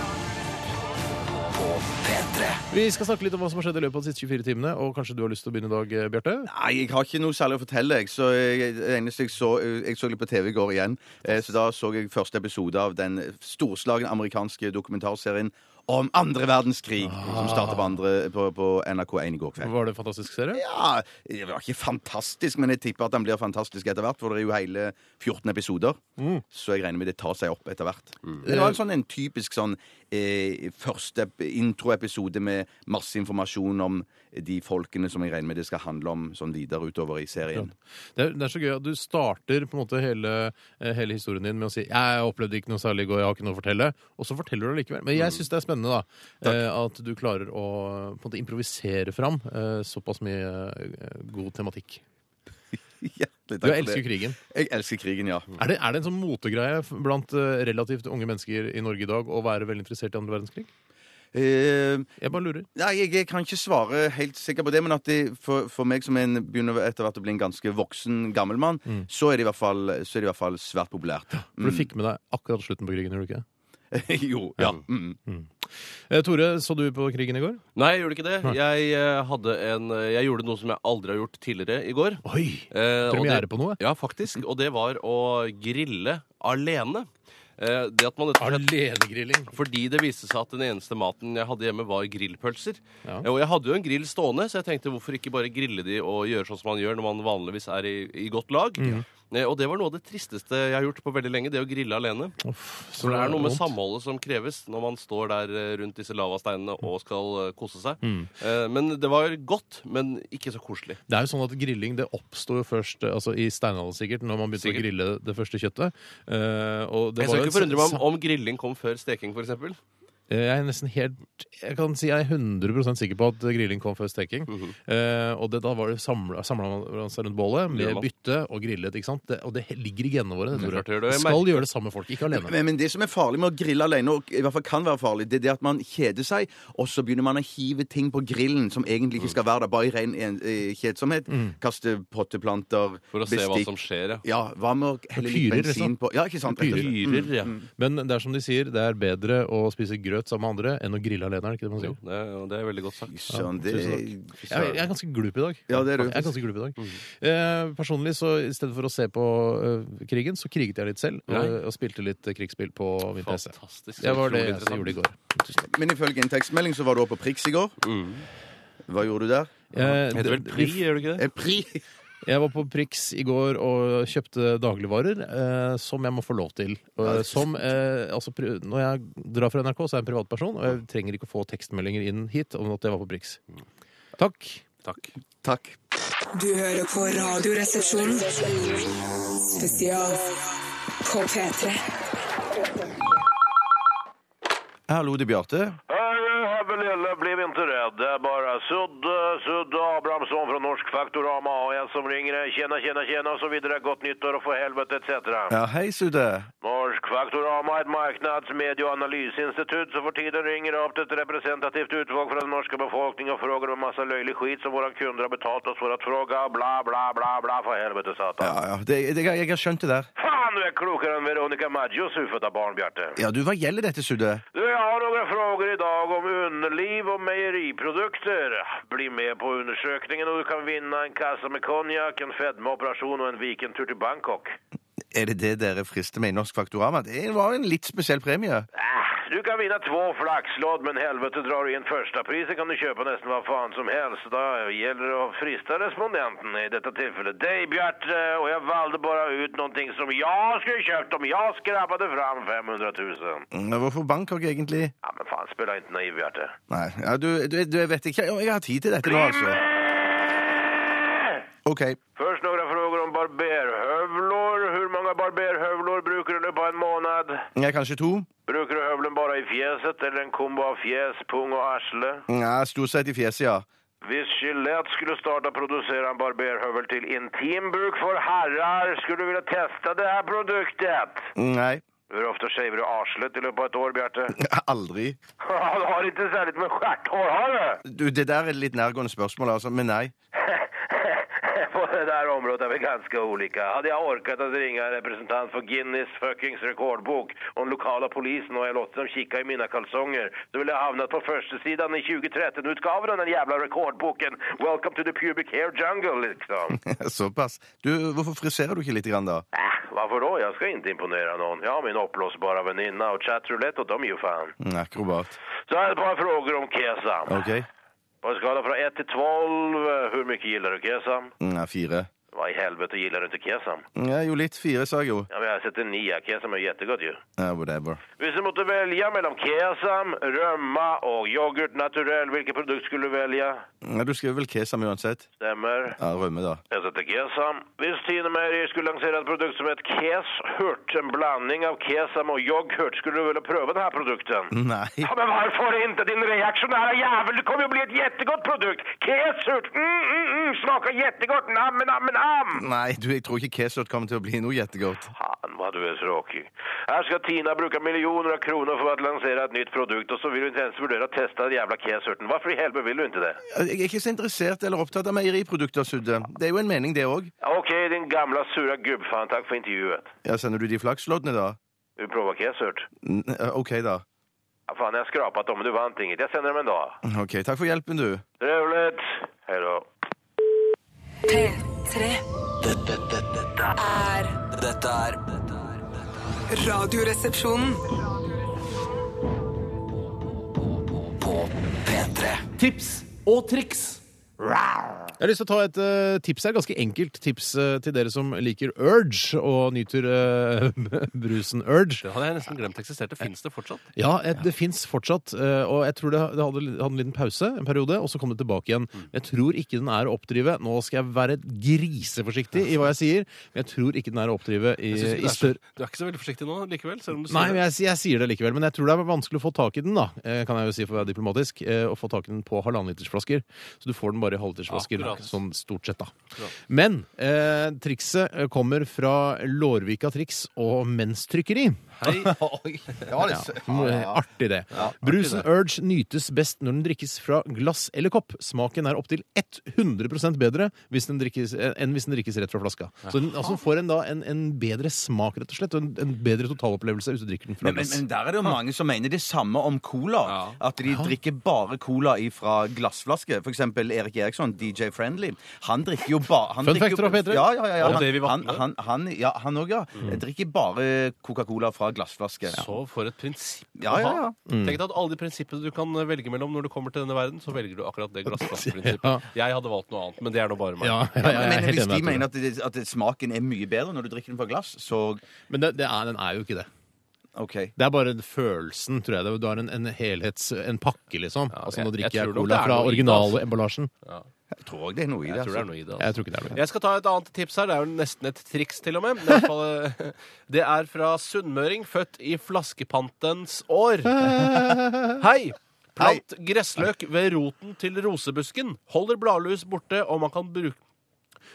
B: Vi skal snakke litt om hva som har skjedd i løpet av de siste 24 timene, og kanskje du har lyst til å begynne i dag, eh, Bjarte?
D: Nei, jeg har ikke noe særlig å fortelle. Jeg, så jeg, det eneste jeg så Jeg så litt på TV i går igjen. Eh, så da så jeg første episode av den storslagne amerikanske dokumentarserien om andre verdenskrig, som starta på, andre- på, på NRK1 i går kveld.
B: Var det en fantastisk serie?
D: Ja, det var ikke fantastisk, men jeg tipper at den blir fantastisk etter hvert. For det er jo hele 14 episoder,
B: Mm.
D: så jeg regner med det tar seg opp etter hvert. Men Det var en sånn en typisk sånn eh, første ep- introepisode med masse informasjon om de folkene som jeg regner med det skal handle om sånn videre utover i serien. [laughs]
B: Det er, det er så gøy at du starter på en måte hele, eh, hele historien din med å si jeg opplevde ikke noe særlig i går, jeg har ikke noe å fortelle. Og så forteller du det likevel. Men
C: Mm.
B: jeg syns det er spennende da, eh, at du klarer å på en måte improvisere fram eh, såpass mye eh, god tematikk.
D: Hjertelig
B: Du
D: takk for
B: elsker
D: det.
B: jo krigen.
D: Jeg elsker krigen, ja.
B: Er det, er det en sånn motegreie f- blant eh, relativt unge mennesker i Norge i dag å være veldig interessert i andre verdenskrig?
D: Eh,
B: Jeg bare lurer.
D: Nei, jeg, jeg kan ikke svare helt sikker på det, men at det, for, for meg som en, begynner etter hvert å bli en ganske voksen gammel mann,
B: Mm.
D: så, er det i hvert fall, så er det i hvert fall svært populært.
B: For
C: Mm.
B: du fikk med deg akkurat slutten på krigen, gjorde du ikke?
D: jo, ja. Mm.
B: Eh, Tore, så du på krigen i går?
C: Nei, jeg gjorde ikke det. Jeg, eh, hadde en, jeg gjorde noe som jeg aldri har gjort tidligere i går.
B: Oi!
C: Eh, og
B: Premiere
C: det-
B: på noe?
C: Ja, faktisk. Og det var å grille alene. Eh, det at man rett og slett
B: Alenegrilling.
C: fordi det viste seg at den eneste maten jeg hadde hjemme, var grillpølser. Eh,
B: Ja.
C: Og jeg hadde jo en grill
B: Mhm.
C: stående, så jeg tenkte hvorfor ikke bare grille de og gjøre sånn som man gjør når man vanligvis er i, i godt lag. Eh, Og det var noe av det tristeste jeg har gjort på veldig lenge, det å grille alene.
B: Så
C: For det er noe med
B: vondt.
C: samholdet som kreves når man står der eh, rundt disse lavasteinene og skal eh, kose seg.
B: Mhm.
C: Eh, Men det var godt, men ikke så koselig.
B: Det er jo sånn at Grilling det oppsto jo først eh, altså i steinalderen, sikkert, når man begynte
C: Sikkert.
B: å grille det første kjøttet. Eh, og det
C: Jeg
B: var
C: skal
B: jo
C: ikke
B: en
C: forundre meg
B: sa-
C: om, om grilling kom før steking, f.eks.
B: Eh, Jeg er nesten helt Jeg kan si jeg er 100 sikker på at grilling kom før steking.
C: Mhm.
B: Eh, og det, da var det samla man seg rundt bålet
C: Gjør
B: med
C: man.
B: bytte og grillet. ikke sant? Det, og det he- ligger i genene våre. Det, tror jeg.
C: klart gjør det, og jeg
B: Skal
C: merker-
B: gjøre det sammen med folk, ikke alene.
D: Men, men det som er farlig med å grille alene, og i hvert fall kan være farlig, det er det at man kjeder seg, og så begynner man å hive ting på grillen som egentlig ikke skal være der, bare i ren en- eh, kjedsomhet. Kaste potteplanter,
C: For å se hva som skjer. ja.
D: Ja, hva med å helle litt
B: Pyrer, liksom.
D: bensin på Ja, ikke sant?
B: Pyrer.
C: Pyrer, ja.
B: Men det er som de sier, det er bedre å spise grøt sammen med andre enn å grille alene. er det ikke det man
C: Mm. Jo,
B: sier?
C: det, er- det er veldig godt sagt.
D: Sånn, det
B: Tusen Jeg, jeg er ganske glup i dag.
D: Ja, det er du.
B: Jeg er ganske glup i dag. Eh, personlig, så i stedet for å se på eh, krigen, så kriget jeg litt selv.
C: Nei.
B: eh, og spilte litt eh, krigsspill på min PC.
C: Fantastisk.
B: Det var det
C: Utrolig
B: jeg gjorde i
C: interessant.
B: går.
D: Men ifølge inntektsmelding så var du oppe på Prix i går. Hva gjorde du der?
B: Eh,
C: Heter vel
B: det-
C: pri, gjør Mm. det ikke det?
D: Eh, Prix!
B: Jeg var på Prix i går og kjøpte dagligvarer eh, som jeg må få lov til. Eh, som, eh, altså, pri- når jeg drar fra NRK, så er jeg en privatperson, og jeg trenger ikke å få tekstmeldinger inn hit om at jeg var på Prix. Takk.
C: Takk.
D: Takk.
E: Du hører på Radioresepsjonen. Spesial på P3.
D: Hallo, det er Bjarte.
F: Hebbe-lille, bliv inte rädd. Det är bara Sudd, eh, Sudd Abrahamsson från Norsk Faktorama och en som ringer eh, dig. Tjena, tjena, tjena och så vidare. Gott nytt år och för helvete etc.
D: Ja, hei, Sudde.
F: Norsk Faktorama är ett marknads-, medie och analysinstitut som för tiden ringer upp till ett representativt utvalg från den norska befolkningen och frågar om en massa löjlig skit som våra kunder har betalt oss för att fråga. Bla, bla, bla, bla, för helvete satan.
J: Ja, ja. Det, det, jeg, jeg har skjønt det der.
F: Fan, du är klokare än Veronica Maggios huvudfödda barn, Bjarte.
J: Ja, du, Hva gjelder dette, Sudde?
F: Du, jag har några frågor idag om underliv och mejeriprodukter. Bli med på undersökningen och du kan vinna en kassa med konjak, en fedmaoperation och en vikentur till Bangkok.
J: Er det det dere frister med i Norsk Faktorama? Det var en litt spesiell premie.
F: Äh, du kan vinna två flaxlåd, men helvete drar du in första priset kan du köpa nästan vad fan som helst. Då gäller det att frista respondenten i detta tillfälle. Dig, Bjarte, och jag valde bara ut någonting som jag skulle köpt om jag skrabbade fram 500 000.
J: Mm, Hvorfor Bangkok, egentlig?
F: Ja, men fan, spela inte naiv, Bjarte.
J: Nei, ja, du, du, du, jeg vet ikke. Jeg, jeg har tid til dette nå, altså. OK.
F: Först några frågor om barberhövlor. Hur många barberhövlor brukar du nu på en månad?
J: Jeg er kanskje to?
F: Brukar du hövlen bara i fjäset eller en kombo av fjäs, pung och arsle?
J: Ja, Stort sett i fjeset, ja.
F: Hvis Gillette skulle starta producera en barberhövel till intimbruk för herrar, skulle du vilja testa det här produktet?
J: Nei.
F: Hur ofta shavar du arslet i løpet av ett år, Bjarte? [laughs]
J: Aldri.
F: du har inte särskilt med stjärthår, har du? [laughs]
J: Du, Det der er et litt nærgående spørsmål, altså. Men nei. [laughs]
F: På det där området är vi ganska olika. Hade jag orkat att ringa en representant för Guinness fuckings rekordbok och den lokala polisen och jag låtit dem kika i mina kalsonger så ville jag hamnat på första sidan i 2013-utgaven av den jävla rekordboken Welcome to the pubic hair jungle liksom.
J: Såpass. Du, Hvorfor friserer du ikke litt, grann, da?
F: Äh, varför då? Jag ska inte imponera någon. Jag har min uppblåsbara väninna og chattroulette och de är ju fan.
J: Mm, Akrobat.
F: Så här är ett par frågor om kesam.
J: OK.
F: På en skala från 1 till 12, eh, hur mycket gillar du kesam?
J: Mm, Ja, fire. Mm,
F: Vad i helvete gillar du inte kesam?
J: Ja, jo, litt fire, sa jeg jo.
F: Ja, men jag sätter 9. Kesam är jättegott ju.
J: Ja, whatever.
F: Hvis du måtte velge mellom kesam, rømme og yoghurt naturell, hvilket produkt skulle du velge?
J: Mm, Ja, du skriver vel kesam uansett?
F: Stemmer.
J: Ja, rømme, da.
F: Jeg setter kesam. Hvis Tine Meier skulle lansere et produkt som het keshurt, en blanding av kesam og yoghurt, skulle du ville prøve denne produkten?
J: Nei.
F: Ja, men hvorfor ikke, din reaksjonære jævel? Det kommer jo bli et jettegodt produkt! Keshurt! Mm, mm, mm, smaker jettegodt! Nam, nam, nam!
J: Nei, du, jeg tror ikke Kesort kommer til å bli noe jettegodt.
F: Fan vad du är tråkig. Här ska Tina bruka miljoner av kronor för att lansera ett nytt produkt och så vill du inte ens vurdera att testa den jävla kesurten. Varför i helvete vill du inte det?
J: Jeg er ikke så interessert eller opptatt av meieriprodukter, Sudde. Det er jo en mening, det òg.
F: Okej, din gamla sura gubbfan, tack för intervjuet.
J: Ja, sender du de flaksloddene, da?
F: Du provar kesurt.
J: N eh, OK, da.
F: Ja, fan, jag har skrapat dem men du vann inget. Jag sänder dem en dag.
J: OK, takk for hjelpen, du.
F: Trevligt! Hej då.
E: P3.
G: Dette er dette er-
E: Radioresepsjonen.
G: Tips og triks.
B: Jeg har lyst til å ta et eh, tips her, ganske enkelt tips eh, til dere som liker Urge og nyter eh, [laughs] brusen Urge.
C: Det hadde jeg nesten glemt eksisterte. Fins det fortsatt?
B: Ja, et, det fins fortsatt. eh, Og jeg tror det, det hadde, hadde en liten pause en periode, og så kom det tilbake igjen.
C: Mm.
B: Jeg tror ikke den er å oppdrive. Nå skal jeg være griseforsiktig i hva jeg sier, men jeg tror ikke den er å oppdrive Eh, i,
C: Jeg synes ikke
B: i
C: det er så-
B: større
C: Du er ikke så veldig forsiktig nå likevel? Selv om du sier
B: Nei, men
C: det.
B: jeg, jeg sier det likevel. Men jeg tror det er vanskelig å få tak i den, da. eh, Kan jeg jo si for å være diplomatisk. eh, Å få tak i den på halvannenlitersflasker. Så du får den bare i halvlitersflasker.
C: Akkurat.
B: Sånn stort sett, da.
C: Akkurat.
B: Men eh, trikset eh, kommer fra Lårvika Triks og Menstrykkeri.
C: Hei.
J: Ja, det,
B: Må- Artig det. Brusen Urge nytes best når den drikkes fra glass eller kopp. Smaken er opptil 100 bedre hvis den drikkes, eh, enn hvis den drikkes rett fra flaska. Så den altså, får en, da, en, en bedre smak, rett og slett, og en, en bedre totalopplevelse hvis du drikker den fra
D: Men, men,
B: glass.
D: men der er det jo mange som mener det samme om cola.
C: Ja.
D: At de drikker bare cola fra glassflaske. For eksempel Erik Eriksson, DJ Friendly. Han drikker jo bare han
B: Fun
D: drikker
B: fact
D: jo-
B: fra Peter.
D: Ja, ja, ja, ja.
C: Og
D: Han-
C: Davy Vatne.
D: Han, han, han, ja, han òg, ja. Drikker bare Coca-Cola fra glassflaske.
C: Så for et prinsipp
D: Ja,
C: å ha.
D: ja, ja.
B: Mm.
C: Tenk deg at alle de prinsippene du kan eh, velge mellom når du kommer til denne verden, så velger du akkurat
B: [laughs]
C: det glassflaskeprinsippet.
B: Ja.
C: Jeg hadde valgt noe annet, men det er nå bare meg.
B: ja, ja, ja,
D: Men,
B: jeg er helt enig med
D: hvis de
B: deg, Tore.
D: mener at, det, at det, smaken er mye bedre når du drikker den fra glass, så
B: Men det, det er, den er jo ikke det.
D: OK.
B: Det er bare følelsen, tror jeg. Det er- Du har en, en helhets... En pakke, liksom. altså, nå
C: jeg- jeg
B: drikker jeg,
C: tror nok det
B: cola
C: er
B: fra
C: noe i det, altså.
B: originalemballasjen.
D: Jeg tror det er noe i det.
C: Jeg tror det
D: altså.
C: er noe i det. altså.
B: Jeg tror ikke det er noe.
C: Jeg skal ta et annet tips her. Det er jo nesten et triks, til og med. Det er, i hvert fall, eh, [laughs] det er fra sunnmøring, født i flaskepantens
B: [laughs]
C: år. Hei! Plant gressløk ved roten til rosebusken. Holder bladlus borte, og man kan bruke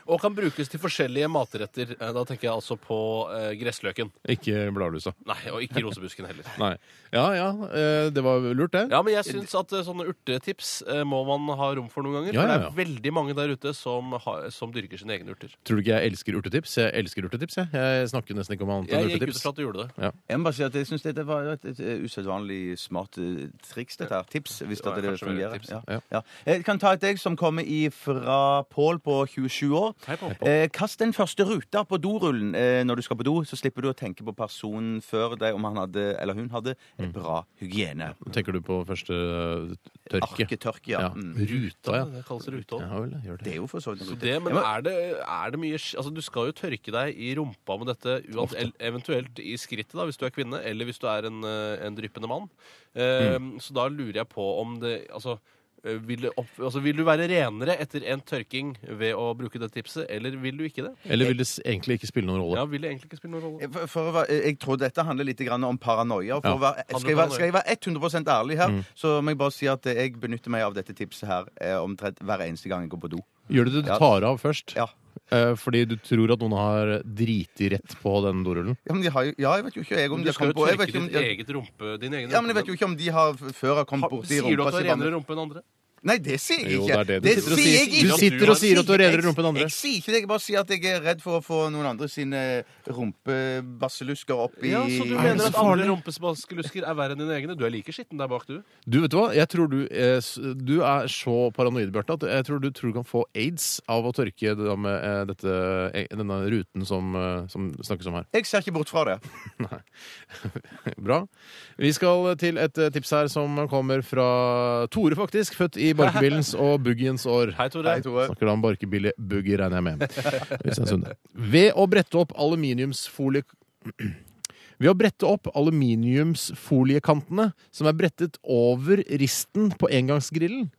C: og kan brukes til forskjellige matretter. Eh, Da tenker jeg altså på eh, gressløken.
B: Ikke bladlusa.
C: Nei, og ikke rosebusken heller.
B: Nei. Ja ja, eh, det var lurt, det.
C: Ja, men jeg syns at eh, sånne urtetips eh, må man ha rom for noen ganger.
B: Ja, ja,
C: For
B: ja.
C: det er veldig mange der ute som, har, som dyrker sine egne urter.
B: Tror du ikke jeg elsker urtetips? Jeg elsker urtetips, jeg. Jeg snakker nesten ikke om annet
C: Jeg
B: enn
C: gikk ut
B: urtetips.
C: fra at du gjorde det.
D: Jeg må bare si at jeg syns det var et, et, et usedvanlig smart eh, triks, dette her. Tips, hvis
C: Ja,
D: det, det
C: kanskje mer
D: fungerer.
C: et tips.
D: Ja.
B: Ja.
D: Ja. Jeg kan ta et deg som kommer fra Pål på 27 år.
C: Hei, Pål.
D: Eh, kast den første ruta på dorullen eh, når du skal på do, så slipper du å tenke på personen før deg om han hadde, eller hun hadde eh,
B: Mm.
D: bra hygiene.
B: Tenker du på første eh, tørke?
D: Arketørke, ja.
B: Ja.
D: Mm.
B: Ruta, ja.
C: Det kalles rute også.
B: Ja vel, gjør
D: Det
B: det.
D: er jo for så vidt en
C: Så
D: rute.
C: det, men
D: Ja, men-
C: er det, er det mye sk- Altså, du skal jo tørke deg i rumpa med dette, uansett, el- eventuelt i skrittet, da, hvis du er kvinne, eller hvis du er en, eh, en dryppende mann. Eh,
D: Mm.
C: Så da lurer jeg på om det Altså eh, vil, det opp, altså, vil du være renere etter en tørking ved å bruke det tipset, eller vil du ikke det?
B: Eller vil det s- egentlig ikke spille noen rolle?
C: Ja, vil det egentlig ikke spille noen rolle?
D: For, for å være, jeg tror dette handler litt grann om paranoia. For
B: Ja.
D: å være, skal, jeg være, skal jeg være 100 ærlig her,
C: Mm.
D: så må jeg bare si at jeg benytter meg av dette tipset her eh, omtrent hver eneste gang jeg går på do.
B: Gjør det det du
D: Ja.
B: tar av først?
D: Ja.
B: Eh, Fordi du tror at noen har driti rett på den dorullen?
D: Ja, men de har jo, ja, jeg vet jo ikke jeg, om
C: Du
D: de har
C: skal
D: kommet
C: jo
D: på jeg
C: tørke
D: vet ikke om,
C: ditt
D: ja,
C: eget rumpe, din egen
D: ja, men jeg vet jo ikke om de har f- før har
C: Ha-
D: kommet borti
C: Sier du at du har
D: si bare-
C: renere rumpe enn andre?
D: Nei, det sier jeg
B: Jo,
D: ikke.
B: det er det du sitter og
D: sier
B: sier.
D: jeg
B: Du
D: ikke.
B: sier- du sier at du har renere rumpe enn andre.
D: Jeg, jeg sier ikke det. Jeg bare sier at jeg er redd for å få noen andre sine rumpebasselusker opp i
C: Ja, Så du
B: Er det
C: mener
B: så
C: at andre
B: farlig?
C: rumpespaskelusker er verre enn dine egne? Du er like skitten der bak, du.
B: Du vet du hva, jeg tror du, eh, s- du er så paranoid, Bjarte, at jeg tror du tror du kan få aids av å tørke det da med eh, dette, eh, denne ruten som, eh, som snakkes om her. [laughs]
D: Jeg ser ikke bort fra det.
B: Bra. Vi skal til et eh, tips her som kommer fra Tore, faktisk. Født [laughs] i Barkebillens og Boogiens år.
C: Hei, Tore.
D: Tore.
B: Snakker da om barkebille Boogie, regner jeg med. Hvis jeg er sunn. Ved å brette opp aluminiumsfolie... Ved å brette opp aluminiumsfoliekantene som er brettet over risten på engangsgrillen,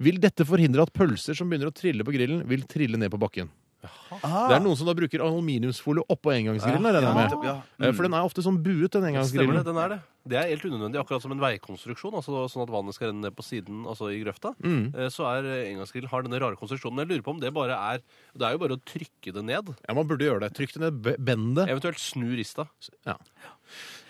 B: vil dette forhindre at pølser som begynner å trille på grillen, vil trille ned på bakken. Det er noen som da bruker aluminiumsfolie oppå engangsgrillen. regner jeg med.
D: Ja.
B: Eh, For den er ofte sånn buet, den
C: Stemmer
B: engangsgrillen.
C: det, den er det. Det er helt unødvendig, akkurat som en veikonstruksjon, altså sånn at vannet skal renne ned på siden, altså i grøfta. eh, Så er eh, engangsgrillen har denne rare konstruksjonen. Jeg lurer på om det bare er Det er jo bare å trykke det ned.
B: Ja, man burde gjøre det. Trykk det ned, be- bend det.
C: Eventuelt snu rista.
B: Ja.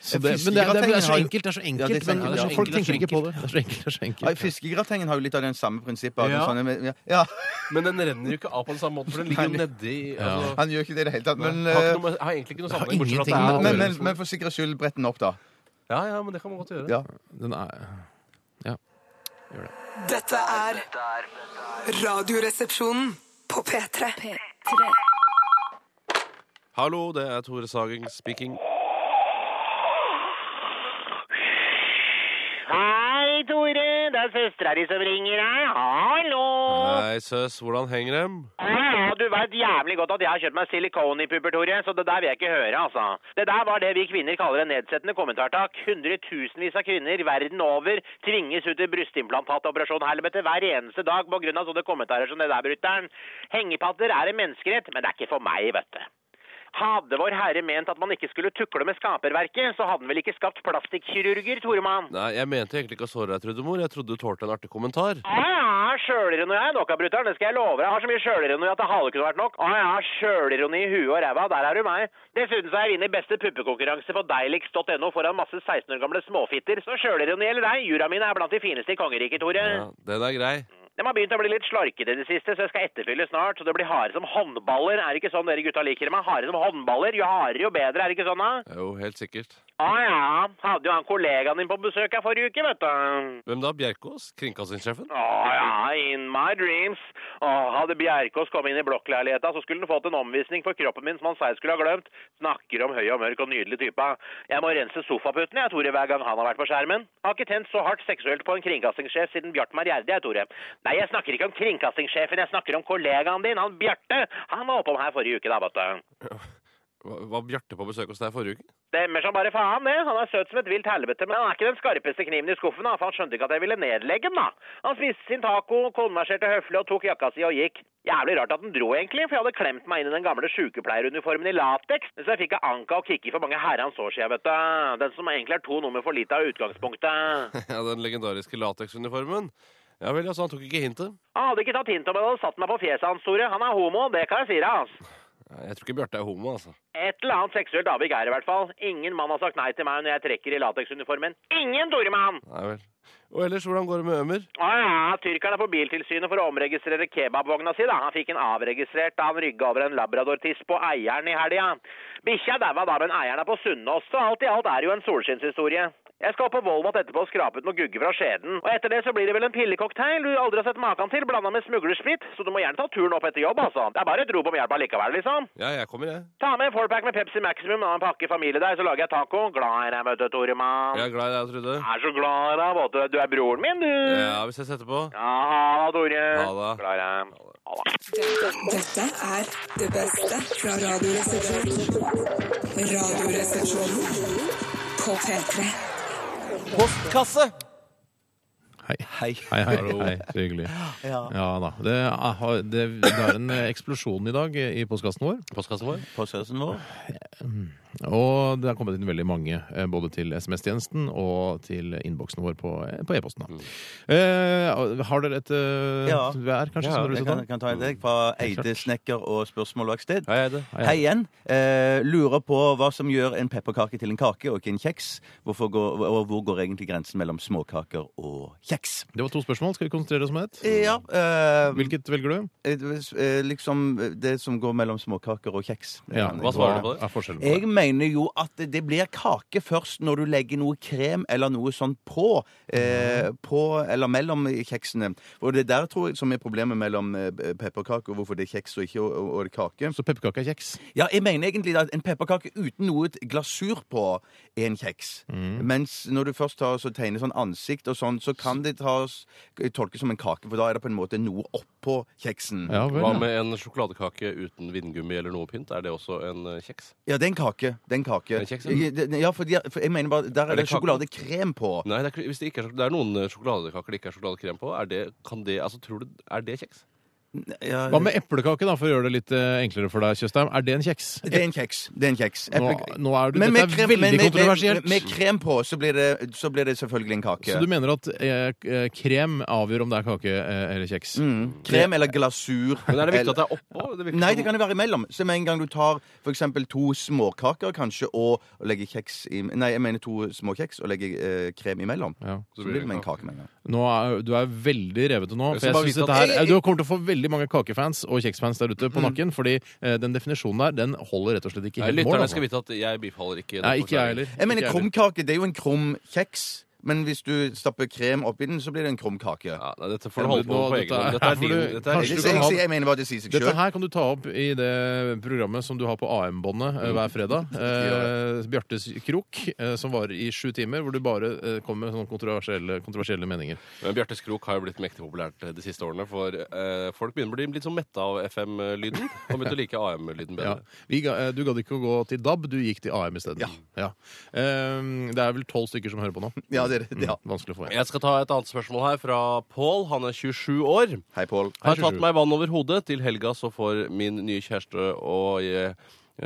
B: Så det, men det, er- det, er- det er så enkelt, det er så enkelt.
D: Ja, det er så
B: men-
D: enkelt,
B: men
C: ja.
B: så- folk
C: Enkelt,
B: tenker
C: det er
B: ikke på det. Det er så enkelt, det er så
D: Nei,
B: enkelt.
D: Fiskegratengen har jo litt av den samme prinsippet. at den
C: Ja.
D: Sånne, ja, ja, [laughs]
C: Men den renner jo ikke av på den samme måten, for den ligger jo nedi altså,
D: han gjør ikke det i det hele tatt. Men,
C: har, ikke
D: eh,
C: noe, med- har egentlig ikke noe
B: har
C: sammenheng, bortsett
B: ingenting
C: fra
B: med
C: at det
D: men,
C: er
D: men, men for sikkerhets skyld, brett den opp, da.
C: Ja, ja, men det kan man godt gjøre.
D: Ja.
B: Den er,
E: Dette er Radioresepsjonen på P3.
C: Hallo, det er Tore Sagen speaking.
H: Hei, Tore. Det er søstera di som ringer her. Hallo!
C: Hei, søs. Hvordan henger dem?
H: Ja, ja, du veit jævlig godt at jeg har kjøpt meg silikon i pubertore, så det der vil jeg ikke høre, altså. Det der var det vi kvinner kaller en nedsettende kommentar, takk. Hundretusenvis av kvinner verden over tvinges ut i brystimplantatioperasjon helvete hver eneste dag på grunn av sånne kommentarer som det der, brutter'n. Hengepatter er en menneskerett, men det er ikke for meg, vet du. Hadde Vår Herre ment at man ikke skulle tukle med skaperverket, så hadde han vel ikke skapt plastikkirurger, Toremann?
C: Nei, jeg mente egentlig ikke å såre deg, Trudemor. Jeg trodde du tålte en artig kommentar.
H: Å ja, Ah, sjølironi har jeg nok av, brutter'n. Det skal jeg love deg. Jeg har så mye sjølironi at det halve kunne vært nok. Å ja, sjølironi i huet og ræva. Der er du meg. Dessuten så har jeg vunnet beste puppekonkurranse på deiligst.no foran masse 16 år gamle småfitter. Så sjølironi eller deg, jura mine er blant de fineste i kongeriket, Tore.
C: Ja, den er grei.
H: De har begynt å bli litt slarkete i det siste, så jeg skal etterfylle snart. Så det blir harde som håndballer. Er det ikke sånn dere gutta liker meg? Harde som håndballer. Jo hardere, jo bedre. Er det ikke sånn, da?
C: Jo, helt sikkert.
H: Å ja. Hadde jo han kollegaen din på besøk her forrige uke, vet du.
C: Hvem da? Bjerkås? Kringkastingssjefen?
H: Å ja, in my dreams. Å, hadde Bjerkås kommet inn i blokkleiligheta, så skulle han fått en omvisning for kroppen min som han seg skulle ha glemt. Snakker om høy og mørk og nydelig type. Jeg må rense sofaputene, jeg, Tore, hver gang han har vært på skjermen. Har ikke tent så hardt seksuelt på en kringkastingssjef siden Bjartmar Gjerde, jeg, Tore. Nei, jeg snakker ikke om kringkastingssjefen, jeg snakker om kollegaen din, han Bjarte. Han var oppom her forrige uke, da, vet du.
C: Hva- Var Bjarte på besøk hos deg forrige uke?
H: Stemmer som bare faen, det. Han er søt som et vilt helvete, men han er ikke den skarpeste kniven i skuffen, da, for han skjønte ikke at jeg ville nedlegge den, da. Han spiste sin taco, konverserte høflig og tok jakka si og gikk. Jævlig rart at den dro, egentlig, for jeg hadde klemt meg inn i den gamle sykepleieruniformen i lateks, men så jeg fikk av Anka og Kikki for mange herrens år siden, vet du. Den som egentlig er to nummer for lite av utgangspunktet.
C: [laughs] Ja, Den legendariske lateksuniformen. Ja vel, altså, han tok ikke hintet.
H: Han hadde ikke tatt hint om jeg hadde satt meg på fjeset hans, Tore. Han er homo, det kan jeg si deg, altså.
C: Nei, Jeg tror ikke Bjarte er homo, altså.
H: Et eller annet seksuelt avvik er det i hvert fall. Ingen mann har sagt nei til meg når jeg trekker i lateksuniformen. Ingen, Toremann!
C: Nei vel. Og ellers, hvordan går det med Ømer?
H: Å ja, tyrkeren er på biltilsynet for å omregistrere kebabvogna si. da. Han fikk den avregistrert da han rygga over en labradortiss på eieren i helga. Bikkja daua da, men eieren er på Sunnaas, så alt i alt er det jo en solskinnshistorie. Jeg skal opp på Volvat etterpå og skrape ut noe gugge fra skjeden. Og etter det så blir det vel en pillecocktail du aldri har sett maken til, blanda med smuglersprit, så du må gjerne ta turen opp etter jobb, altså. Det er bare et rop om hjelp allikevel, liksom.
C: Ja, jeg kommer, jeg.
H: Ta med en fourpack med Pepsi Maximum og en pakke familiedeig, så lager jeg taco. Glad i deg, vet du, Toremann.
C: Jeg er glad i deg, Trude.
H: Jeg er så glad i deg, vet du. Du er broren min, du.
C: Ja, vi ses etterpå.
H: Ja, ha det, Tore.
C: Ha det.
H: Glad i deg. Ha det.
A: Dette er det beste fra Radioresepsjonen. Radioresepsjonen på P3.
K: Postkasse.
B: Hei.
K: Hei.
B: Hei, hei, hei. Så hyggelig. Ja, da. Det, er- det, det er en eh, eksplosjon i dag eh, i postkassen vår.
C: Postkassen vår.
D: På søsen vår.
B: Og det er kommet inn veldig mange, eh, både til SMS-tjenesten og til innboksen vår på på e-posten. da.
C: Mm.
B: Eh, har dere et eh,
D: Ja.
B: hver,
C: sånn
B: kanskje? som dere
D: jeg
B: vil ta?
D: kan, kan ta en deg fra Eide snekker og spørsmål og sted.
C: Hei, Eide.
D: Hei igjen. Eh, lurer på hva som gjør en pepperkake til en kake og ikke en kjeks. Hvorfor går, og hvor går egentlig grensen mellom småkaker og kjeks?
B: Det var to spørsmål. Skal vi konsentrere oss om ett?
D: Ja, eh,
B: Hvilket velger du?
D: eh, liksom det som går mellom småkaker og kjeks.
C: Hva svarer du på det?
B: Er forskjellen på det?
D: Jeg mener jo at det blir kake først når du legger noe krem eller noe sånt på. Eh, på eller mellom kjeksene. Og det der tror jeg som er problemet mellom eh, pepperkake og hvorfor det er kjeks og ikke og, og, og det er kake.
B: Så pepperkake er kjeks.
D: Ja, jeg mener egentlig at en pepperkake uten noe glasur på er en kjeks. Mens når du først tar, så tegner sånn ansikt og sånn, så kan det tas, tolkes som en kake, for da er det på en måte noe oppå kjeksen.
B: Ja vel.
C: Hva
B: ja.
C: med en sjokoladekake uten vindgummi eller noe pynt? Er det også en eh, kjeks?
D: Ja, det er en kake. Det er en kake.
C: En kjeks,
D: ja, det- ja for, de, for jeg mener bare, der er,
C: det
D: det
C: kake?
D: sjokoladekrem på.
C: Nei, det er, ikke- hvis det, ikke er, sjok- det er noen eh, sjokoladekaker det ikke er sjokoladekrem på. Er det, kan det, altså, tror du, er det kjeks?
D: Ja,
B: Hva med eplekake, da, for å gjøre det litt eh, enklere for deg, Tjøstheim? Er det en kjeks?
D: det er en kjeks. Det er en kjeks.
B: Nå,
D: Eple-
B: nå er du,
D: Men med
B: dette er
D: krem-
B: veldig
D: men med-
B: kontroversielt.
D: Med, med krem på, så blir, det, så blir det selvfølgelig en kake.
B: så du mener at eh, eh, krem avgjør om det er kake eh, eller kjeks?
D: Mm. Krem eller glasur.
C: Men er det viktig
D: eller-
C: at det er oppå? Det virker
D: Nei,
C: som-
D: det kan jo være imellom. Så med en gang du tar for eksempel to småkaker kanskje, og, og legger kjeks i Nei, jeg mener to små kjeks og legger eh, krem imellom.
B: Ja.
D: Så blir det med en kake med en gang.
B: Nå er, du er veldig revete nå. For
C: Jeg skal
B: jeg
C: bare
B: synes
C: vite
B: dette
C: at- Mm.
B: her, Eh, du kommer til å få veldig mange kakefans og kjeksfans der ute på nakken, fordi eh, den definisjonen der den holder rett og slett ikke
C: Nei,
B: helt mål.
C: lytterne
B: altså.
C: skal vite at jeg bifaller ikke.
B: Nei, ikke jeg heller.
D: Jeg mener
B: Ikke jeg heller.
D: krumkake, det er jo en krum kjeks.
J: Men hvis du stapper krem oppi den, så blir det en krum kake.
C: Ja, nei, dette får du holde på
B: Nå,
C: på
B: dette er-
C: egen hånd. Dette er
B: her får
C: din.
B: du-
C: Dette er
B: kanskje-
J: Jeg,
B: du
C: din.
B: kan ha-
J: jeg, jeg mener bare det sier seg
B: Dette
J: sjøl.
B: her kan du ta opp i det programmet som du har på AM-båndet
C: Mm.
B: eh, hver
C: [laughs]
B: fredag. Eh, Bjartes krok, eh, som varer i sju timer, hvor du bare eh, kommer med sånne kontroversielle, kontroversielle meninger.
C: Men Bjartes Krok har jo blitt mektig populært de siste årene, for eh, folk begynner å bli litt sånn metta av FM-lyden, og begynte å like AM-lyden
B: Ja.
C: bedre.
B: Vi ga, eh, du gadd ikke å gå til DAB, du gikk til AM isteden. Ja. Eh, det er vel tolv stykker som hører på nå.
J: Ja, det er det. Ja.
B: Mm, Vanskelig å få igjen.
C: Jeg skal ta et annet spørsmål her fra Pål. Han er 27 år.
J: Hei, Pål.
C: Har tatt
B: 27.
C: meg vann over hodet. Til helga så får min nye kjæreste og jeg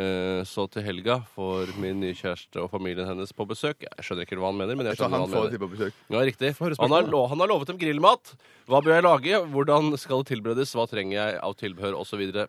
C: eh, så til helga får min nye kjæreste og familien hennes på besøk. Jeg skjønner ikke hva han mener, men jeg
J: Så
C: skjønner hva
J: han
C: han
J: får det
C: mener.
J: på besøk.
C: Ja, riktig.
B: Få høre
C: Han har,
B: spørsmålet.
C: lo han har lovet dem grillmat. Hva bør jeg lage? Hvordan skal det tilberedes? Hva trenger jeg av tilbehør? Og så videre.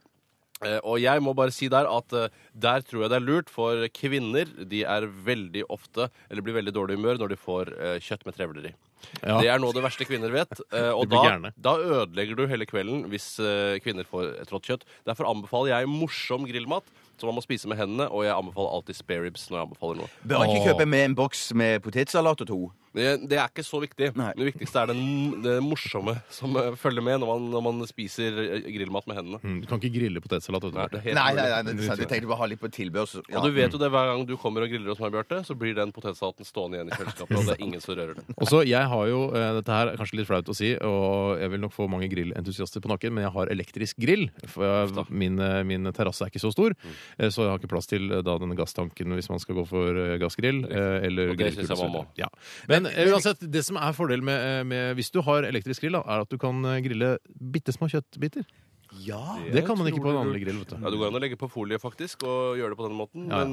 C: Eh, Og jeg må bare si der at eh, der tror jeg det er lurt, for kvinner de er veldig ofte, eller blir veldig dårlig i humør når de får eh, kjøtt med trevler i.
B: Ja.
C: Det er noe av det verste kvinner
B: [laughs]
C: vet. eh, Og
B: blir
C: da,
B: gærne.
C: da ødelegger du hele kvelden hvis eh, kvinner får et rått kjøtt. Derfor anbefaler jeg morsom grillmat som man må spise med hendene, og jeg anbefaler alltid spareribs når jeg anbefaler noe.
J: Bør jeg ikke
B: Åh.
J: kjøpe med en boks med potetsalat og to?
C: Det, det er ikke så viktig.
J: Nei.
C: Det viktigste er den, det morsomme som eh, følger med når man, når man spiser eh, grillmat med hendene.
B: Mm, Du kan ikke grille potetsalat. vet du,
C: Nei,
B: Bjarte.
C: det er helt
J: Nei, nei,
C: umulig.
J: nei, det er sant. jeg tenkte bare ha litt på tilbør. Så, ja.
C: Og du vet jo det hver gang du kommer og griller hos meg, Bjarte, så blir den potetsalaten stående igjen i kjøleskapet, og det er ingen som rører den.
B: Og så, jeg har jo, eh, Dette her er kanskje litt flaut å si, og jeg vil nok få mange grillentusiaster på nakken, men jeg har elektrisk grill. For jeg, min eh, min terrasse er ikke så stor,
C: Mm.
B: eh, så jeg har ikke plass til eh, da denne gasstanken hvis man skal gå for eh, gassgrill. eh, Eller
C: Og det synes jeg
B: grillkule,
C: man må.
B: så- Ja. Men eh, uansett, det som er fordelen med, eh, med hvis du har elektrisk grill, da, er at du kan eh, grille bitte små kjøttbiter.
J: Ja.
B: Det kan man ikke på en vanlig grill. vet
C: Ja,
B: du.
C: Du går an å legge på folie faktisk og gjøre det på den måten,
B: Ja, ja.
C: men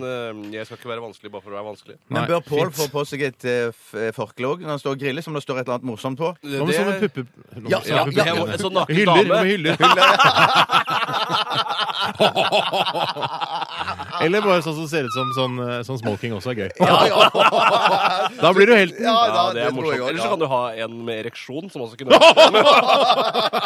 C: eh, jeg skal ikke være vanskelig bare for å være vanskelig.
B: Nei,
J: Men bør Pål
B: fint.
J: få på seg et eh, f- eh, forkle òg når han står og griller, som det står et eller annet morsomt på? [laughs]
B: Hva med
C: Det-
B: sånne
C: [laughs]
B: pupper... Nå-
J: Ja,
B: sånne
J: ja,
B: pupper-
J: ja,
C: en sånn naken
B: hyller,
C: dame.
B: med
J: [laughs]
B: hyller. Eller bare sånn som ser ut som sånn, eh, sånn smoking også er gøy. Da blir du helten.
J: Ja,
C: Ja,
J: da,
C: det er morsomt.
J: tror jeg
C: Eller så
J: også,
C: kan du ha en med ereksjon, som også kunne vært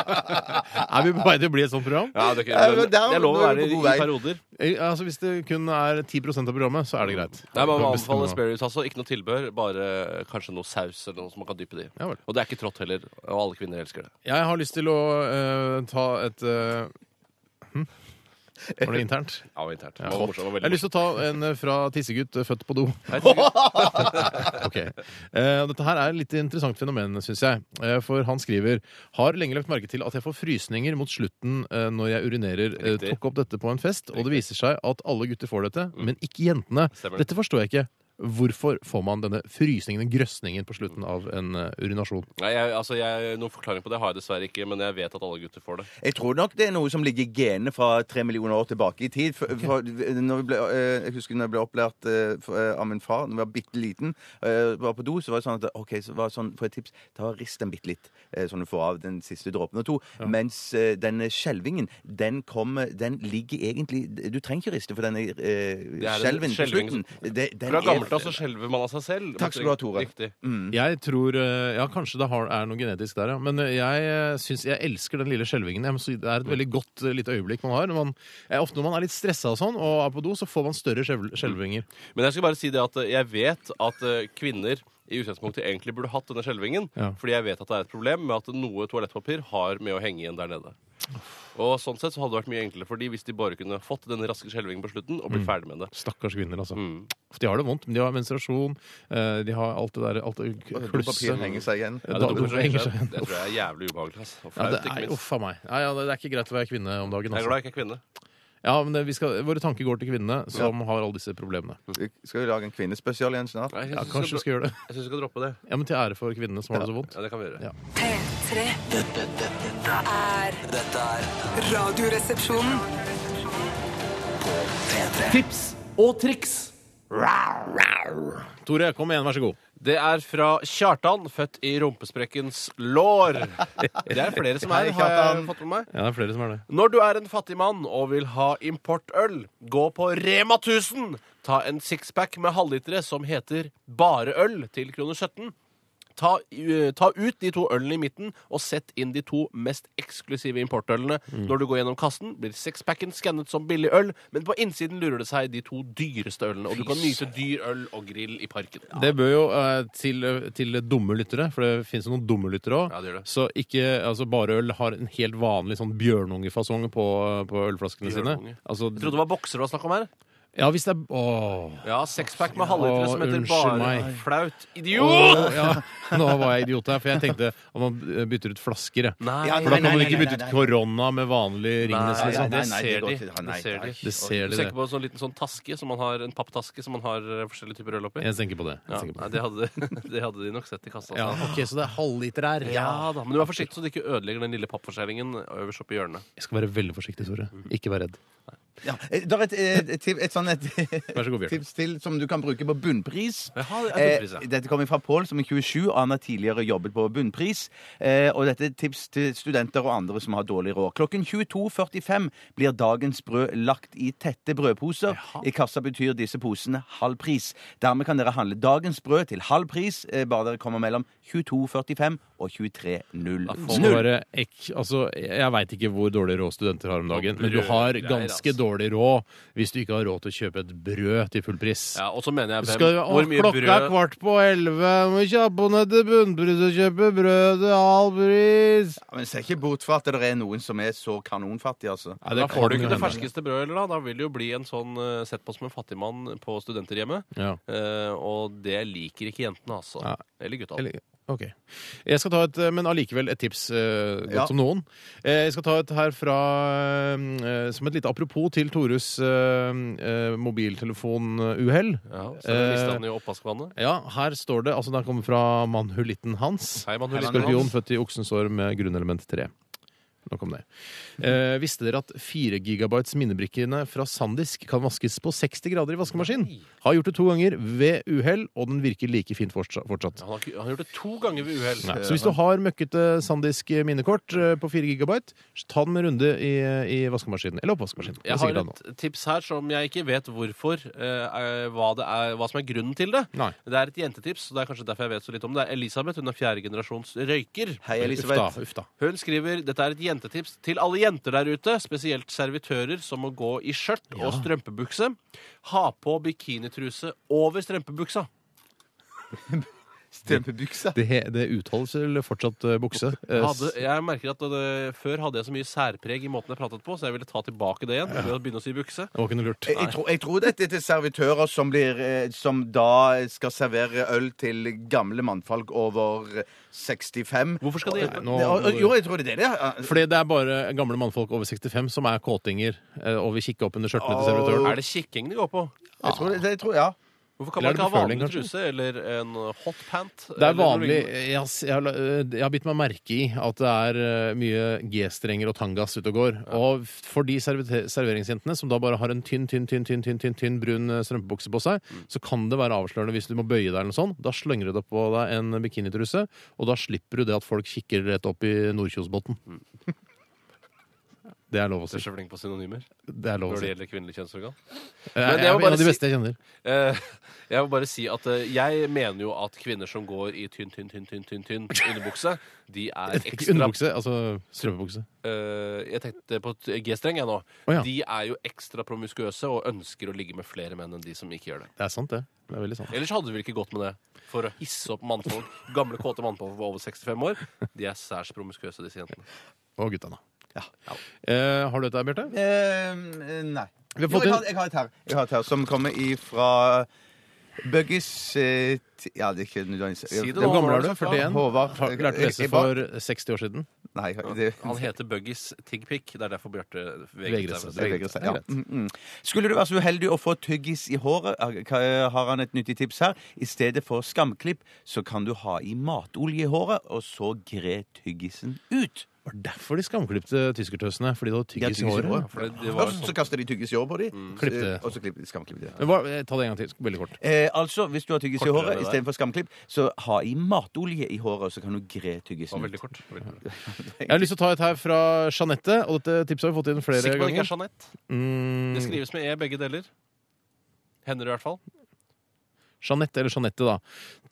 B: [laughs] Er vi på vei til å bli et sånt program?
C: Ja, det, er
J: Ja,
C: ikke-
J: men
C: men
J: der-
C: det er lov å
J: nå er
C: være
J: du
C: i,
J: på god
C: i
J: vei.
C: perioder.
B: Eh, Altså, Hvis det kun er 10 av programmet, så er det greit.
C: Nei, Man må anbefale spareribs, altså. Ikke noe tilbør, bare eh, kanskje noe saus eller noe som man kan dyppe det i.
B: Ja vel.
C: Og det er ikke trått heller, og alle kvinner elsker det.
B: Jeg har lyst til å eh, ta et eh, hm? Var det internt?
C: Ja, og internt.
B: Ja.
C: Det var morsomt, det var
B: Jeg
C: veldig
B: har lyst til å ta en eh, fra tissegutt eh, født på do. [laughs] Ok. Eh, dette her er et litt interessant fenomen, syns jeg. Eh, for han skriver Har lenge lagt merke til at jeg får frysninger mot slutten eh, når jeg urinerer. Eh,
C: Riktig. Mm.
B: tok opp dette på en fest, og det viser seg at alle gutter får dette, men ikke jentene.
C: Stemmer.
B: Dette forstår jeg ikke. Hvorfor får man denne frysningen, den grøsningen, på slutten av en eh, urinasjon?
C: Nei, jeg, altså, jeg, Noen forklaring på det har jeg dessverre ikke, men jeg vet at alle gutter får det.
J: ja. Jeg tror nok det er noe som ligger i genene fra tre millioner år tilbake i tid. For, for, når vi ble, eh, jeg husker når jeg ble opplært eh, for, eh, av min far da jeg var bitte liten, eh, var på do, så var det sånn at OK, så var det sånn, for et tips, ta og rist den bitte litt, eh, sånn du får av den siste dråpen og to. Mens eh, denne skjelvingen, den kommer Den ligger egentlig Du trenger ikke riste for denne eh,
C: er en
J: skjelven på
C: skjelving
J: slutten. Det, den
C: Fra
J: er-
C: gammelt av så skjelver man av seg selv.
J: Takk skal du ha, Tore.
C: Riktig.
B: Jeg tror eh, Ja, kanskje det har, er noe genetisk der, ja. Men eh, jeg eh, syns jeg elsker den lille skjelvingen. Jeg må si, det er et veldig godt eh, lite øyeblikk man har. Når man, eh, ofte når man er litt stressa og sånn, og er på do, så får man større skjelv- skjelvinger.
C: Men jeg skal bare si det at eh, jeg vet at eh, kvinner i utgangspunktet egentlig burde hatt denne skjelvingen.
B: Ja.
C: Fordi jeg vet at det er et problem med at noe toalettpapir har med å henge igjen der nede. Og sånn sett så hadde det vært mye enklere for de hvis de bare kunne fått denne raske skjelvingen på slutten og blitt ferdig med det.
B: Stakkars kvinner, altså. De har det vondt. men De har menstruasjon, eh, de har alt det der alt det k-
J: Papiret
B: klusset.
J: henger seg igjen.
B: Ja,
C: Ja,
B: da-
C: det,
B: hvorfor henger seg
C: det,
B: igjen?
C: det tror jeg er jævlig ubehagelig. Altså. Og
B: Ja,
C: flaut,
B: det
C: ikke
B: er,
C: minst.
B: uff a meg. Nei, ja, det er ikke greit å være kvinne om dagen.
C: Jeg er
B: Altså.
C: glad jeg ikke er kvinne.
B: Ja, men det, vi skal, våre tanker går til kvinnene som har alle disse problemene.
J: Skal vi lage en kvinnespesial igjen snart?
C: Nei, jeg
B: Ja,
C: synes
B: kanskje vi
C: skal,
B: skal gjøre det.
C: jeg synes vi skal droppe det.
B: Ja, Men til ære for kvinnene som har det så vondt.
C: Ja, det kan vi gjøre.
B: Ja.
E: P3
G: Dette, dette,
E: er
G: dette er
E: Radioresepsjonen.
G: P3. Tips og triks.
B: Tore, kom igjen, vær så god.
C: Det er fra Kjartan, født i rumpesprekkens
B: [laughs]
C: lår. Det er flere som er, har jeg fått med meg.
B: Ja, det er flere som er det.
C: Når du er en fattig mann og vil ha importøl, gå på Rema 1000. Ta en sixpack med halvlitere som heter Bare øl til kroner 17. Ta, eh, ta ut de to ølene i midten, og sett inn de to mest eksklusive importølene.
B: Mm.
C: Når du går gjennom kassen, blir sexpacken skannet som billig øl, men på innsiden lurer det seg de to dyreste ølene, og du kan nyte dyr øl og grill i parken.
B: Det bør jo eh, til, til dumme lyttere, for det fins noen dumme lyttere òg.
C: Ja, det gjør det.
B: så ikke altså, bare øl har en helt vanlig sånn bjørnungefasong på, på ølflaskene sine.
C: Bjørnunge.
B: Altså,
C: Jeg trodde det var bokser det var snakk om her.
B: ja, hvis det er Åh.
C: Ja, sexpack med halvlitere som
B: Åh,
C: heter
B: unnskyld
C: bare
B: meg.
C: flaut. Idiot!
B: Åh, ja. Nå var jeg idiot her, for jeg tenkte at man bytter ut flasker. jeg.
C: Nei,
L: Ja,
B: For da
L: nei,
B: kan man
L: nei,
B: ikke
L: nei,
B: bytte ut
L: nei, nei.
B: korona med vanlig Ringnes.
C: Nei,
B: Liksom.
C: det
L: nei,
C: ser
L: det
C: de.
L: går ikke. Nei,
C: Det ser
L: nei.
C: de.
B: Det ser
C: Du
B: de,
C: tenker
B: det.
C: på en sånn liten sånn taske som man har, en papptaske som man har eh, forskjellige typer øl oppi?
B: Jeg tenker på det. Jeg
C: Ja,
B: tenker
C: nei,
B: på det.
C: det, hadde, [laughs] det hadde de nok sett i kassa.
B: Ja,
C: altså.
B: ok, Så det er halvliter her?
C: Ja da, Men du er forsiktig så du ikke ødelegger den lille pappforskjæringen øverst oppe i hjørnet.
B: Jeg skal være veldig forsiktig, Tore.
C: Mm.
B: Ikke vær redd.
D: Ja. Eh, Det er et, et, et, tip- et, sånn et
B: Vær så god, Bjørn.
D: tips til som du kan bruke på bunnpris.
C: Jaha, det er bunnpris, ja.
D: Eh, dette kommer fra Pål, som er 27, og han har tidligere jobbet på bunnpris. Eh, og dette er et tips til studenter og andre som har dårlig råd. Klokken 22.45 blir dagens brød lagt i tette brødposer. I kassa betyr disse posene halv pris. Dermed kan dere handle dagens brød til halv pris, eh, bare dere kommer mellom 22.45 og 23.00.
B: Folk må være ek, altså, jeg veit ikke hvor dårlig råd studenter har om dagen, men du har ganske
C: altså.
B: dårlig råd hvis du ikke har råd til å kjøpe et brød til full pris.
C: Ja, Og så mener jeg
B: Skal,
C: hvem,
B: å,
C: hvor mye
B: klokka er
C: brød
B: kvart på elleve, må kjappe ned til bunnpris og kjøpe brød til halv pris.
D: Ja, men ser ikke bort fra at det er noen som er så kanonfattige, altså.
B: Ja,
C: Da får du
B: kan
C: ikke det
B: hende.
C: ferskeste brødet heller, da. Da vil det jo bli en sånn eh, sett på som en fattigmann på studenterhjemmet.
B: Ja.
C: Eh, og det liker ikke jentene, altså.
B: Ja.
C: Eller gutta.
B: Eller, ok. Jeg skal ta et, eh, men allikevel et tips, eh, godt
D: Ja.
B: som noen. Eh, Jeg skal ta et her fra eh, Som et lite apropos til Tores eh, eh, mobiltelefonuhell.
C: Ja, så mista han
B: Eh,
C: jo oppvaskvannet.
B: Ja, her står det altså Den kommer fra mannhulitten hans.
C: Hei, mann, du liker
B: Skorpion
C: hans.
B: født i oksens år med grunnelement 3. Nok om det. Eh, visste dere at 4 gigabytes minnebrikkene fra Sandisk kan vaskes på 60 grader i vaskemaskin? Har gjort det to ganger ved uhell, og den virker like fint fortsa- fortsatt.
C: Han har, ikke- han har gjort det to ganger ved uhell.
B: Nei. Så hvis du har møkkete sandisk minnekort eh, på 4 gigabyte, så ta den med runde i, i vaskemaskinen. Eller oppvaskmaskinen. Det er
C: Jeg har
B: sikkert an
C: et tips her som jeg ikke vet hvorfor, eh, er- hva, det er, hva som er grunnen til det.
B: Nei.
C: Det er et jentetips, og det er kanskje derfor jeg vet så litt om det. Det er Elisabeth, hun er fjerde generasjons røyker.
D: Hei,
B: nå. Uff da,
D: Elisabeth.
B: uff da.
C: Hun skriver dette er et jentetips til alle jenter der ute, spesielt servitører som må gå i skjørt og strømpebukse. Ha på bikinitruse over strømpebuksa.
D: Strømpebuksa.
B: Det, he- det utholdes vel fortsatt eh, bukse. Eh,
C: Hadde, jeg merker at det, Før hadde jeg så mye særpreg i måten jeg pratet på, så jeg ville ta tilbake det igjen. ved å Begynne å si bukse.
B: Det var ikke noe lurt.
C: Eh,
D: Jeg, jeg, tror, jeg tror dette er til servitører som, blir, eh, som da skal servere øl til gamle mannfolk over 65.
C: Hvorfor skal det hjelpe?
B: Nå-
D: Det- og- og- Jo, jeg tror det er det. ja.
B: Fordi det er bare gamle mannfolk over 65 som er kåtinger eh, og vil kikke opp under skjørtene til servitøren.
C: Er det kikking det går på?
B: Ah.
D: Jeg tror, det, jeg tror, ja.
C: Hvorfor kan
B: Eller er
C: man
B: det
C: ikke ha
B: beføling,
C: vanlig
B: kanskje?
C: truse eller en hotpant?
B: Det er vanlig Jeg, har s- jeg, har la- eh, jeg har bitt meg merke i at det er eh, mye G-strenger og tangas ute og går. Og for de servite- serveringsjentene som da bare har en tynn, tynn, tynn, tynn, tynn, tynn, tynn brun eh, strømpebukse på seg,
C: Mm.
B: så kan det være avslørende hvis du må bøye deg eller noe sånt. Da slenger du deg på deg en bikinitruse, og da slipper du det at folk kikker rett opp i Nordkjosbotn.
C: Mm.
B: Det er lov å
C: Du er
B: si.
C: så flink på synonymer
B: Det er lov å
C: når det
B: si.
C: gjelder kvinnelig kjønnsorgan.
B: Jeg
C: jeg
B: er
C: må bare
B: en av de
C: si-
B: beste jeg kjenner.
C: Eh, jeg vil bare si at eh, jeg mener jo at kvinner som går i tynn, tynn, tynn, tynn, tynn,
B: [laughs]
C: tynn underbukse, de er
B: Ikke
C: ekstra
B: underbukse, altså strømpebukse.
C: Eh, Jeg tenkte på t- G-streng, jeg nå.
B: Å, ja.
C: De er jo ekstra promiskuøse og ønsker å ligge med flere menn enn de som ikke gjør det.
B: Det er sant, det. Det er veldig sant.
C: Ellers hadde vi ikke gått med det for å hisse opp mannfolk. Gamle, kåte mannfolk over 65 år. De er særs promiskuøse, disse jentene.
B: Og gutta, da. Eh, har du dette, Bjarte?
D: Eh, nei.
B: Vi har
D: Jo,
B: fått
D: jeg,
B: inn-
D: har, jeg har et her. Jeg har et her som kommer ifra Buggies eh, ti- Ja, det er ikke nødvendigvis
C: Si det nå.
B: Hvor gammel er du? eh,
C: Håvard,
B: 41?
D: Håvard.
B: Har du lært å lese
D: Jeg- jeg bare-
B: for 60 år siden?
D: Nei, det,
C: Han heter Buggies Tigpick. Det er derfor Bjarte
B: Vegret seg.
C: vegret seg.
D: Det
B: Det
D: er
B: er
D: greit,
B: greit.
D: ja. Mm, mm. Skulle du være så uheldig å få tyggis i håret, eh, ka- har han et nyttig tips her. I stedet for skamklipp, så kan du ha i matolje i håret, og så gre tyggisen ut.
B: Det var derfor de skamklipte tyskertøsene. Fordi de hadde
D: De har
B: tyggis i håret.
C: For det, det var
D: Først så kaster de tyggis i håret på dem,
B: Klipp det.
D: og så klipper de skamklipp i det.
B: Men hva, eh, ta det en gang til. Veldig [laughs] kort.
D: Eh, altså, Hvis du har tyggis i
C: Kortere
D: håret
C: det der.
D: istedenfor skamklipp, så ha i matolje i håret, og så kan du gre tyggisen
C: var
D: ut.
C: veldig kort. Veldig kort.
B: Jeg har lyst til å ta et her fra Jeanette. Og dette tipset har vi fått inn flere
C: Sikker på at det ikke
B: ganger.
C: er Jeanette?
B: Mm,
C: Det skrives med E begge deler. Hender i hvert fall.
B: Jeanette, eller Jeanette, da.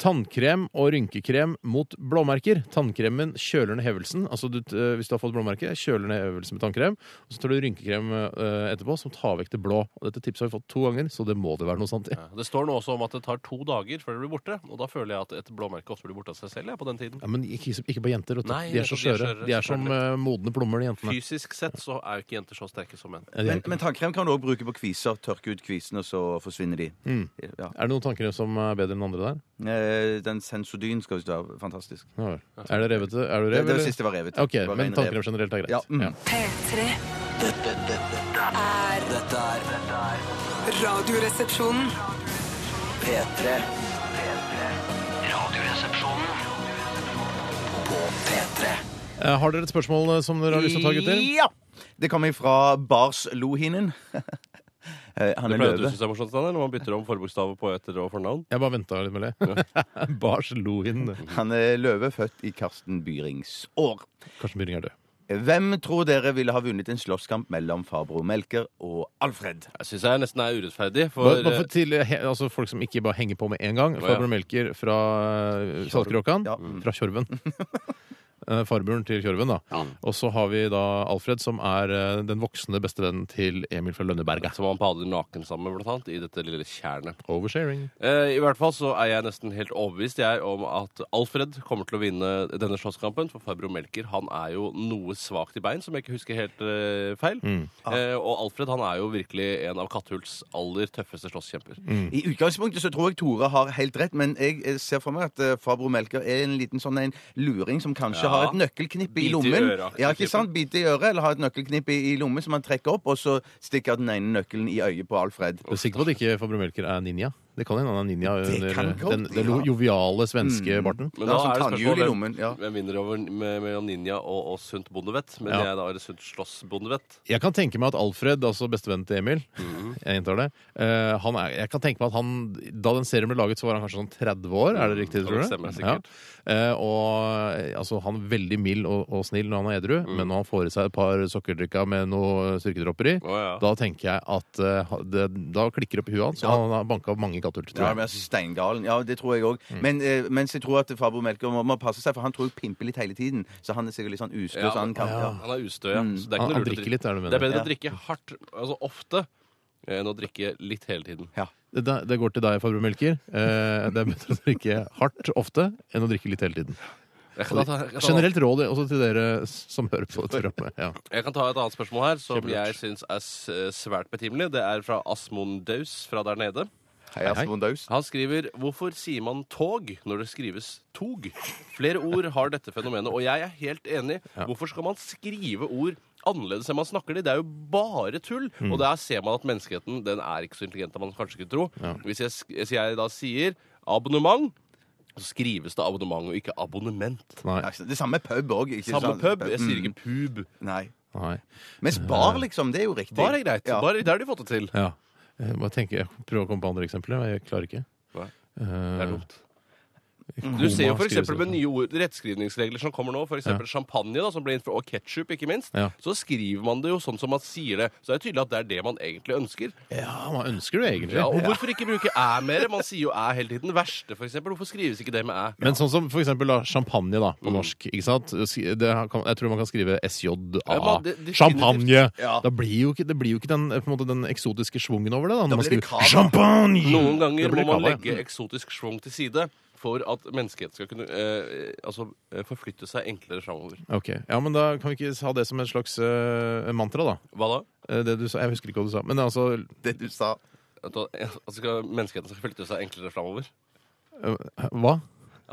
B: Tannkrem og rynkekrem mot blåmerker. Tannkremen kjøler ned hevelsen. Altså du, eh, hvis du har fått blåmerke, kjøler ned hevelsen med tannkrem. Og så tar du rynkekrem eh, etterpå som tar vekk det blå. Og dette tipset har vi fått to ganger, så det må det være noe sant i.
C: Ja, Det står nå også om at det tar to dager før det blir borte. Og da føler jeg at et blåmerke ofte blir borte av seg selv jeg, på den tiden.
B: Ja, men ikke, ikke på jenter. vet du.
C: Nei,
B: de er så
C: nettopp, de er
B: skjøre.
C: skjøre,
B: De er som eh, modne plommer, de jentene.
C: Fysisk sett så er jo ikke jenter så sterke som menn.
B: Ja, de er
D: Men,
B: ikke-
D: men tannkrem kan du òg bruke på kviser. Tørke ut kvisene, og så forsvinner de. Ja.
B: er det noen tanker som er bedre enn andre der?
D: Eh, Den sensodyn skal visst være fantastisk.
B: Ja vel. Er det revete? Er du rev,
D: Det, det,
B: eller?
D: siste var revet.
B: Ok,
D: Det var
B: men
D: ren rev.
B: tanker om generelt er greit.
D: Ja, mm.
E: P3
M: Dette, dette,
E: er
M: dette er dette er
E: Radioresepsjonen.
M: P3. Radioresepsjonen på P3.
B: Eh, Har dere et spørsmål eh, som dere har lyst til å ta, gutter?
D: Ja! Det kommer fra Bars Lohinen. [laughs] Eh, Han
C: Det
D: er
C: pleier du
D: løve.
C: å synes er morsomt, Steinar, når man bytter om forbokstaver på etter- og fornavn.
B: Jeg bare venta litt med det.
C: [laughs]
B: Bars Lohin.
D: Han er løve, født i Karsten Byrings år.
B: Karsten Byring er død.
D: Hvem tror dere ville ha vunnet en slåsskamp mellom farbror Melker og Alfred?
C: Jeg syns jeg nesten er urettferdig,
B: Bare,
C: for
B: bare for til eh, he, altså folk som ikke bare henger på med én gang.
C: Å, ja. Mm.
B: Farbror Melker fra eh, Saltkråkan.
D: Ja.
B: Fra Tjorven.
D: [laughs]
B: Eh, Farbroren til Tjorven, da.
C: eh,
B: Og så har vi da Alfred, som er eh, den voksne bestevennen til Emil fra Lønneberga.
C: som han padler naken sammen med, blant annet, i dette lille tjernet.
B: Oversharing.
C: Eh, I hvert fall så er jeg nesten helt overbevist jeg om at Alfred kommer til å vinne denne slåsskampen. For Farbro Melker han er jo noe svakt i bein, som jeg ikke husker helt eh, feil.
B: Mm.
C: Eh, og Alfred han er jo virkelig en av Katthults aller tøffeste slåsskjemper.
B: Mm.
D: I utgangspunktet så tror jeg Tore har helt rett, men jeg eh, ser for meg at eh, farbror Melker er en liten sånn en luring som kanskje
C: Ja.
D: har et nøkkelknippe
C: Bit
D: i
C: i
D: lommen.
C: øret-aktig
D: ja, ikke
C: type.
D: sant? Bite i øret, eller har et nøkkelknippe i i lommen som han trekker opp, og så stikker den ene nøkkelen i øyet på Alfred.
B: Du er sikker på at ikke Farbror Melker er ninja? Det kan hende han er ninja
D: Det
B: under
D: kan
B: eh,
D: godt
B: den, den
D: være.
B: joviale svenske barten.
C: Men
D: Ja,
C: da
D: som
C: er det
D: tannhjul
C: spørsmål
D: i
C: hvem-
D: lommen, ja.
C: hvem vinner over me- mellom ninja og, og sunt bondevett. Men
B: Ja.
C: jeg er da er det sunt slåssbondevett.
B: Jeg kan tenke meg at Alfred, altså bestevennen til Emil
C: Mhm.
B: [laughs] Jeg gjentar det. eh, han er, jeg kan tenke meg at han, Da den serien ble laget, så var han kanskje sånn 30 år. Er det riktig,
C: Ja,
B: tror
C: Mm, det
B: du?
C: stemmer sikkert.
B: Ja. Eh, og eh, altså, Han er veldig mild og, og snill når han er edru,
C: Mm.
B: men når han får i seg et par sokkerdrikker med noe styrkedropper i,
C: Å, ja.
B: da tenker jeg at eh, ha- det, Da klikker det opp i huet hans, og han har banka mange kattull, tror
D: Ja,
B: jeg.
D: men altså Steingalen. Ja, det tror jeg òg.
C: Mm.
D: Men eh, mens jeg tror at farbror Melker må, må passe seg, for han tror jeg pimper litt hele tiden. Så han er sikkert litt sånn ustø.
C: Ja,
D: så han kan, ja. Mm.
C: Han er ustø, ja. Så
B: Han-
C: det er ikke noe
B: han
C: lurt å
B: drikker
C: drikke-
B: litt, er det du mener.
C: Det er bedre å
D: Ja.
C: drikke hardt, altså ofte, eh, enn å drikke litt hele tiden.
B: Det, det går til deg, Farbror Melker. Eh, det er bedre å drikke hardt ofte enn å drikke litt hele tiden.
C: Jeg kan ta- jeg kan ta-
B: Generelt råd også til dere som hører på dette programmet. Ja.
C: Jeg kan ta et annet spørsmål her, som
B: Kjempelurt.
C: jeg syns er s- eh, svært betimelig. Det er fra Asmondaus fra der nede.
D: Hei, Asmund Daus.
C: Han skriver Hvorfor sier man tog når det skrives tog? Flere ord har dette fenomenet, og jeg er helt enig. Hvorfor skal man skrive ord annerledes enn man snakker de? Det er jo bare tull. Og der ser man at menneskeheten den er ikke så intelligent som man kanskje skulle tro. Hvis jeg, sk- hvis jeg da sier abonnement, så skrives det abonnement og ikke abonnement.
B: Nei.
D: Nei, Det samme pub òg.
C: Samme pub. Jeg
D: Mm.
C: sier ikke pub.
D: Nei.
B: Nei.
D: Mens bar, liksom, det er jo riktig.
C: Bare er greit.
D: Ja.
C: Bare, det har de fått det til.
B: Ja. Jeg bare tenker, jeg prøver å komme på andre eksempler, men jeg klarer ikke.
C: Nei.
B: Eh,
C: Det er dumt.
B: koma
C: Mm. Du ser jo for
B: skrives sånn.
C: eksempel med
B: ut.
C: nye ord, rettskrivningsregler som kommer nå, f.eks. eksempel champagne da, som ble innført, og ketsjup, ikke minst.
B: Ja.
C: Så skriver man det jo sånn som man sier det. Så det er tydelig at det er det man egentlig ønsker.
B: Ja, hva ønsker du egentlig?
C: Ja, og hvorfor ikke bruke æ mer? Man sier jo æ hele tiden. Verste, f.eks. Hvorfor skrives ikke det med æ?
B: Men sånn som for eksempel da, champagne da,
C: Mm.
B: på norsk. ikke sant? Sk- Det, kan- jeg tror man kan skrive
C: Ja,
B: SJA.
C: man, det- definitivt.
B: Champagne!
D: Ja.
B: Da blir jo ikke, det blir jo ikke den, på en måte, den eksotiske svungen over det. da, når man
D: blir det
B: skriver
D: cava.
B: champagne!
C: Noen
B: Da
C: ganger
B: blir
C: må
B: Mm. det
C: man
B: cava, ja.
C: legge eksotisk schwung til side for at menneskeheten skal kunne eh, altså, eh, forflytte seg enklere framover.
B: Ok, ja, men Da kan vi ikke ha det som et slags eh, mantra, da.
C: Hva da?
B: Eh, Det du sa, jeg husker ikke hva du sa. Men altså
D: Det du sa.
C: At, at skal, menneskeheten skal flytte seg enklere framover?
B: eh, Hva?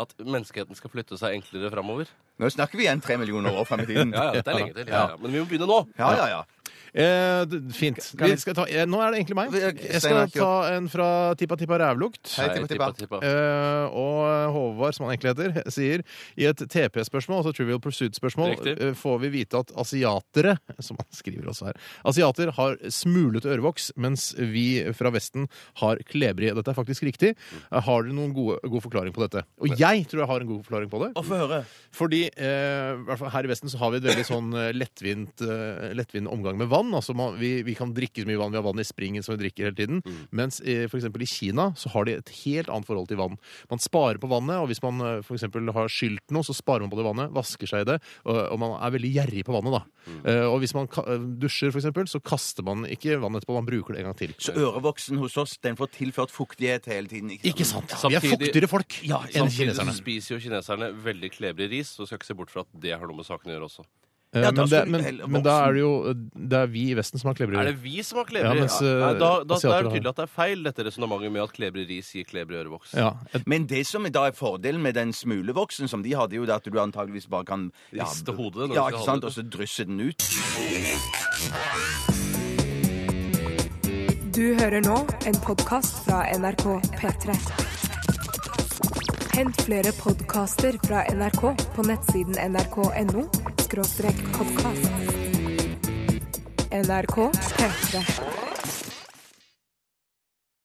C: At menneskeheten skal flytte seg enklere framover?
D: Nå snakker vi igjen tre millioner år frem i tiden.
C: [laughs] Ja, ja, dette er lenge til. Ja, ja. Men vi må begynne nå.
D: Ja, ja, ja.
B: Eh, d- fint. Vi skal ta, eh, nå er det egentlig meg.
D: Vi- ok,
B: Jeg
D: Steinar,
B: skal ta en fra Tippa Tippa Rævlukt.
D: Hei, tippa, tippa.
B: Eh, og Håvard, som han egentlig heter, [laughs] sier i et TP-spørsmål, altså Trivial Pursuit-spørsmål,
C: Riktig.
B: eh, får vi vite at asiatere, som han skriver også her, asiater har smulete ørevoks, mens vi fra Vesten har klebrig. Dette er faktisk riktig.
D: Mm.
B: Eh, Har dere noen gode, god forklaring på dette? Og jeg tror jeg har en god forklaring på det.
D: Å, få høre.
B: Fordi eh, i hvert fall her i Vesten så har vi et veldig sånn eh, lettvint, eh, lettvint omgang med vann. vann. Altså man, vi, vi kan drikke så mye vann, vi har vann i springen som vi drikker hele tiden.
D: Mm.
B: Mens i, for eksempel i Kina så har de et helt annet forhold til vann. Man sparer på vannet, og hvis man eh, for eksempel har skylt noe, så sparer man på det vannet, vasker seg i det, og, og man er veldig gjerrig på vannet da.
D: Mm.
B: Eh, Og hvis man ka- dusjer for eksempel, så kaster man ikke vann etterpå, man bruker det en gang til.
D: Så ørevoksen hos oss, den får tilført fuktighet hele tiden.
B: Ikke sant? Vi er
C: Samtidig-
B: fuktigere folk enn
C: Samtidig så
B: kineserne.
C: spiser jo kineserne veldig klebrig ris, så du skal ikke se bort fra at det har noe med saken å gjøre også.
B: Eh,
D: Ja, da
B: men, det,
D: skal du
B: men,
D: heller
B: men da er det jo eh, det er vi i Vesten som har
C: Er
B: klebrig.
C: det vi som har
B: Ja,
C: klebrig?
B: mens, eh,
C: Ja, Nei, da, da, da
B: asiater
C: er det
B: har-
C: tydelig at det er feil, dette resonnementet med at klebrig ris gir klebrig ørevoks.
B: Ja, et,
D: Men det som da er fordelen med den smulevoksen som de hadde, jo det at du antageligvis bare kan ja,
C: Riste hodet når du
D: Ja,
C: skal
D: ikke
C: ha
D: sant?
C: det.
D: Og så drysse den ut.
A: Du hører nå en podkast fra NRK P3. Hent flere podkaster fra NRK på nettsiden nrk.no podkast. NRK P3.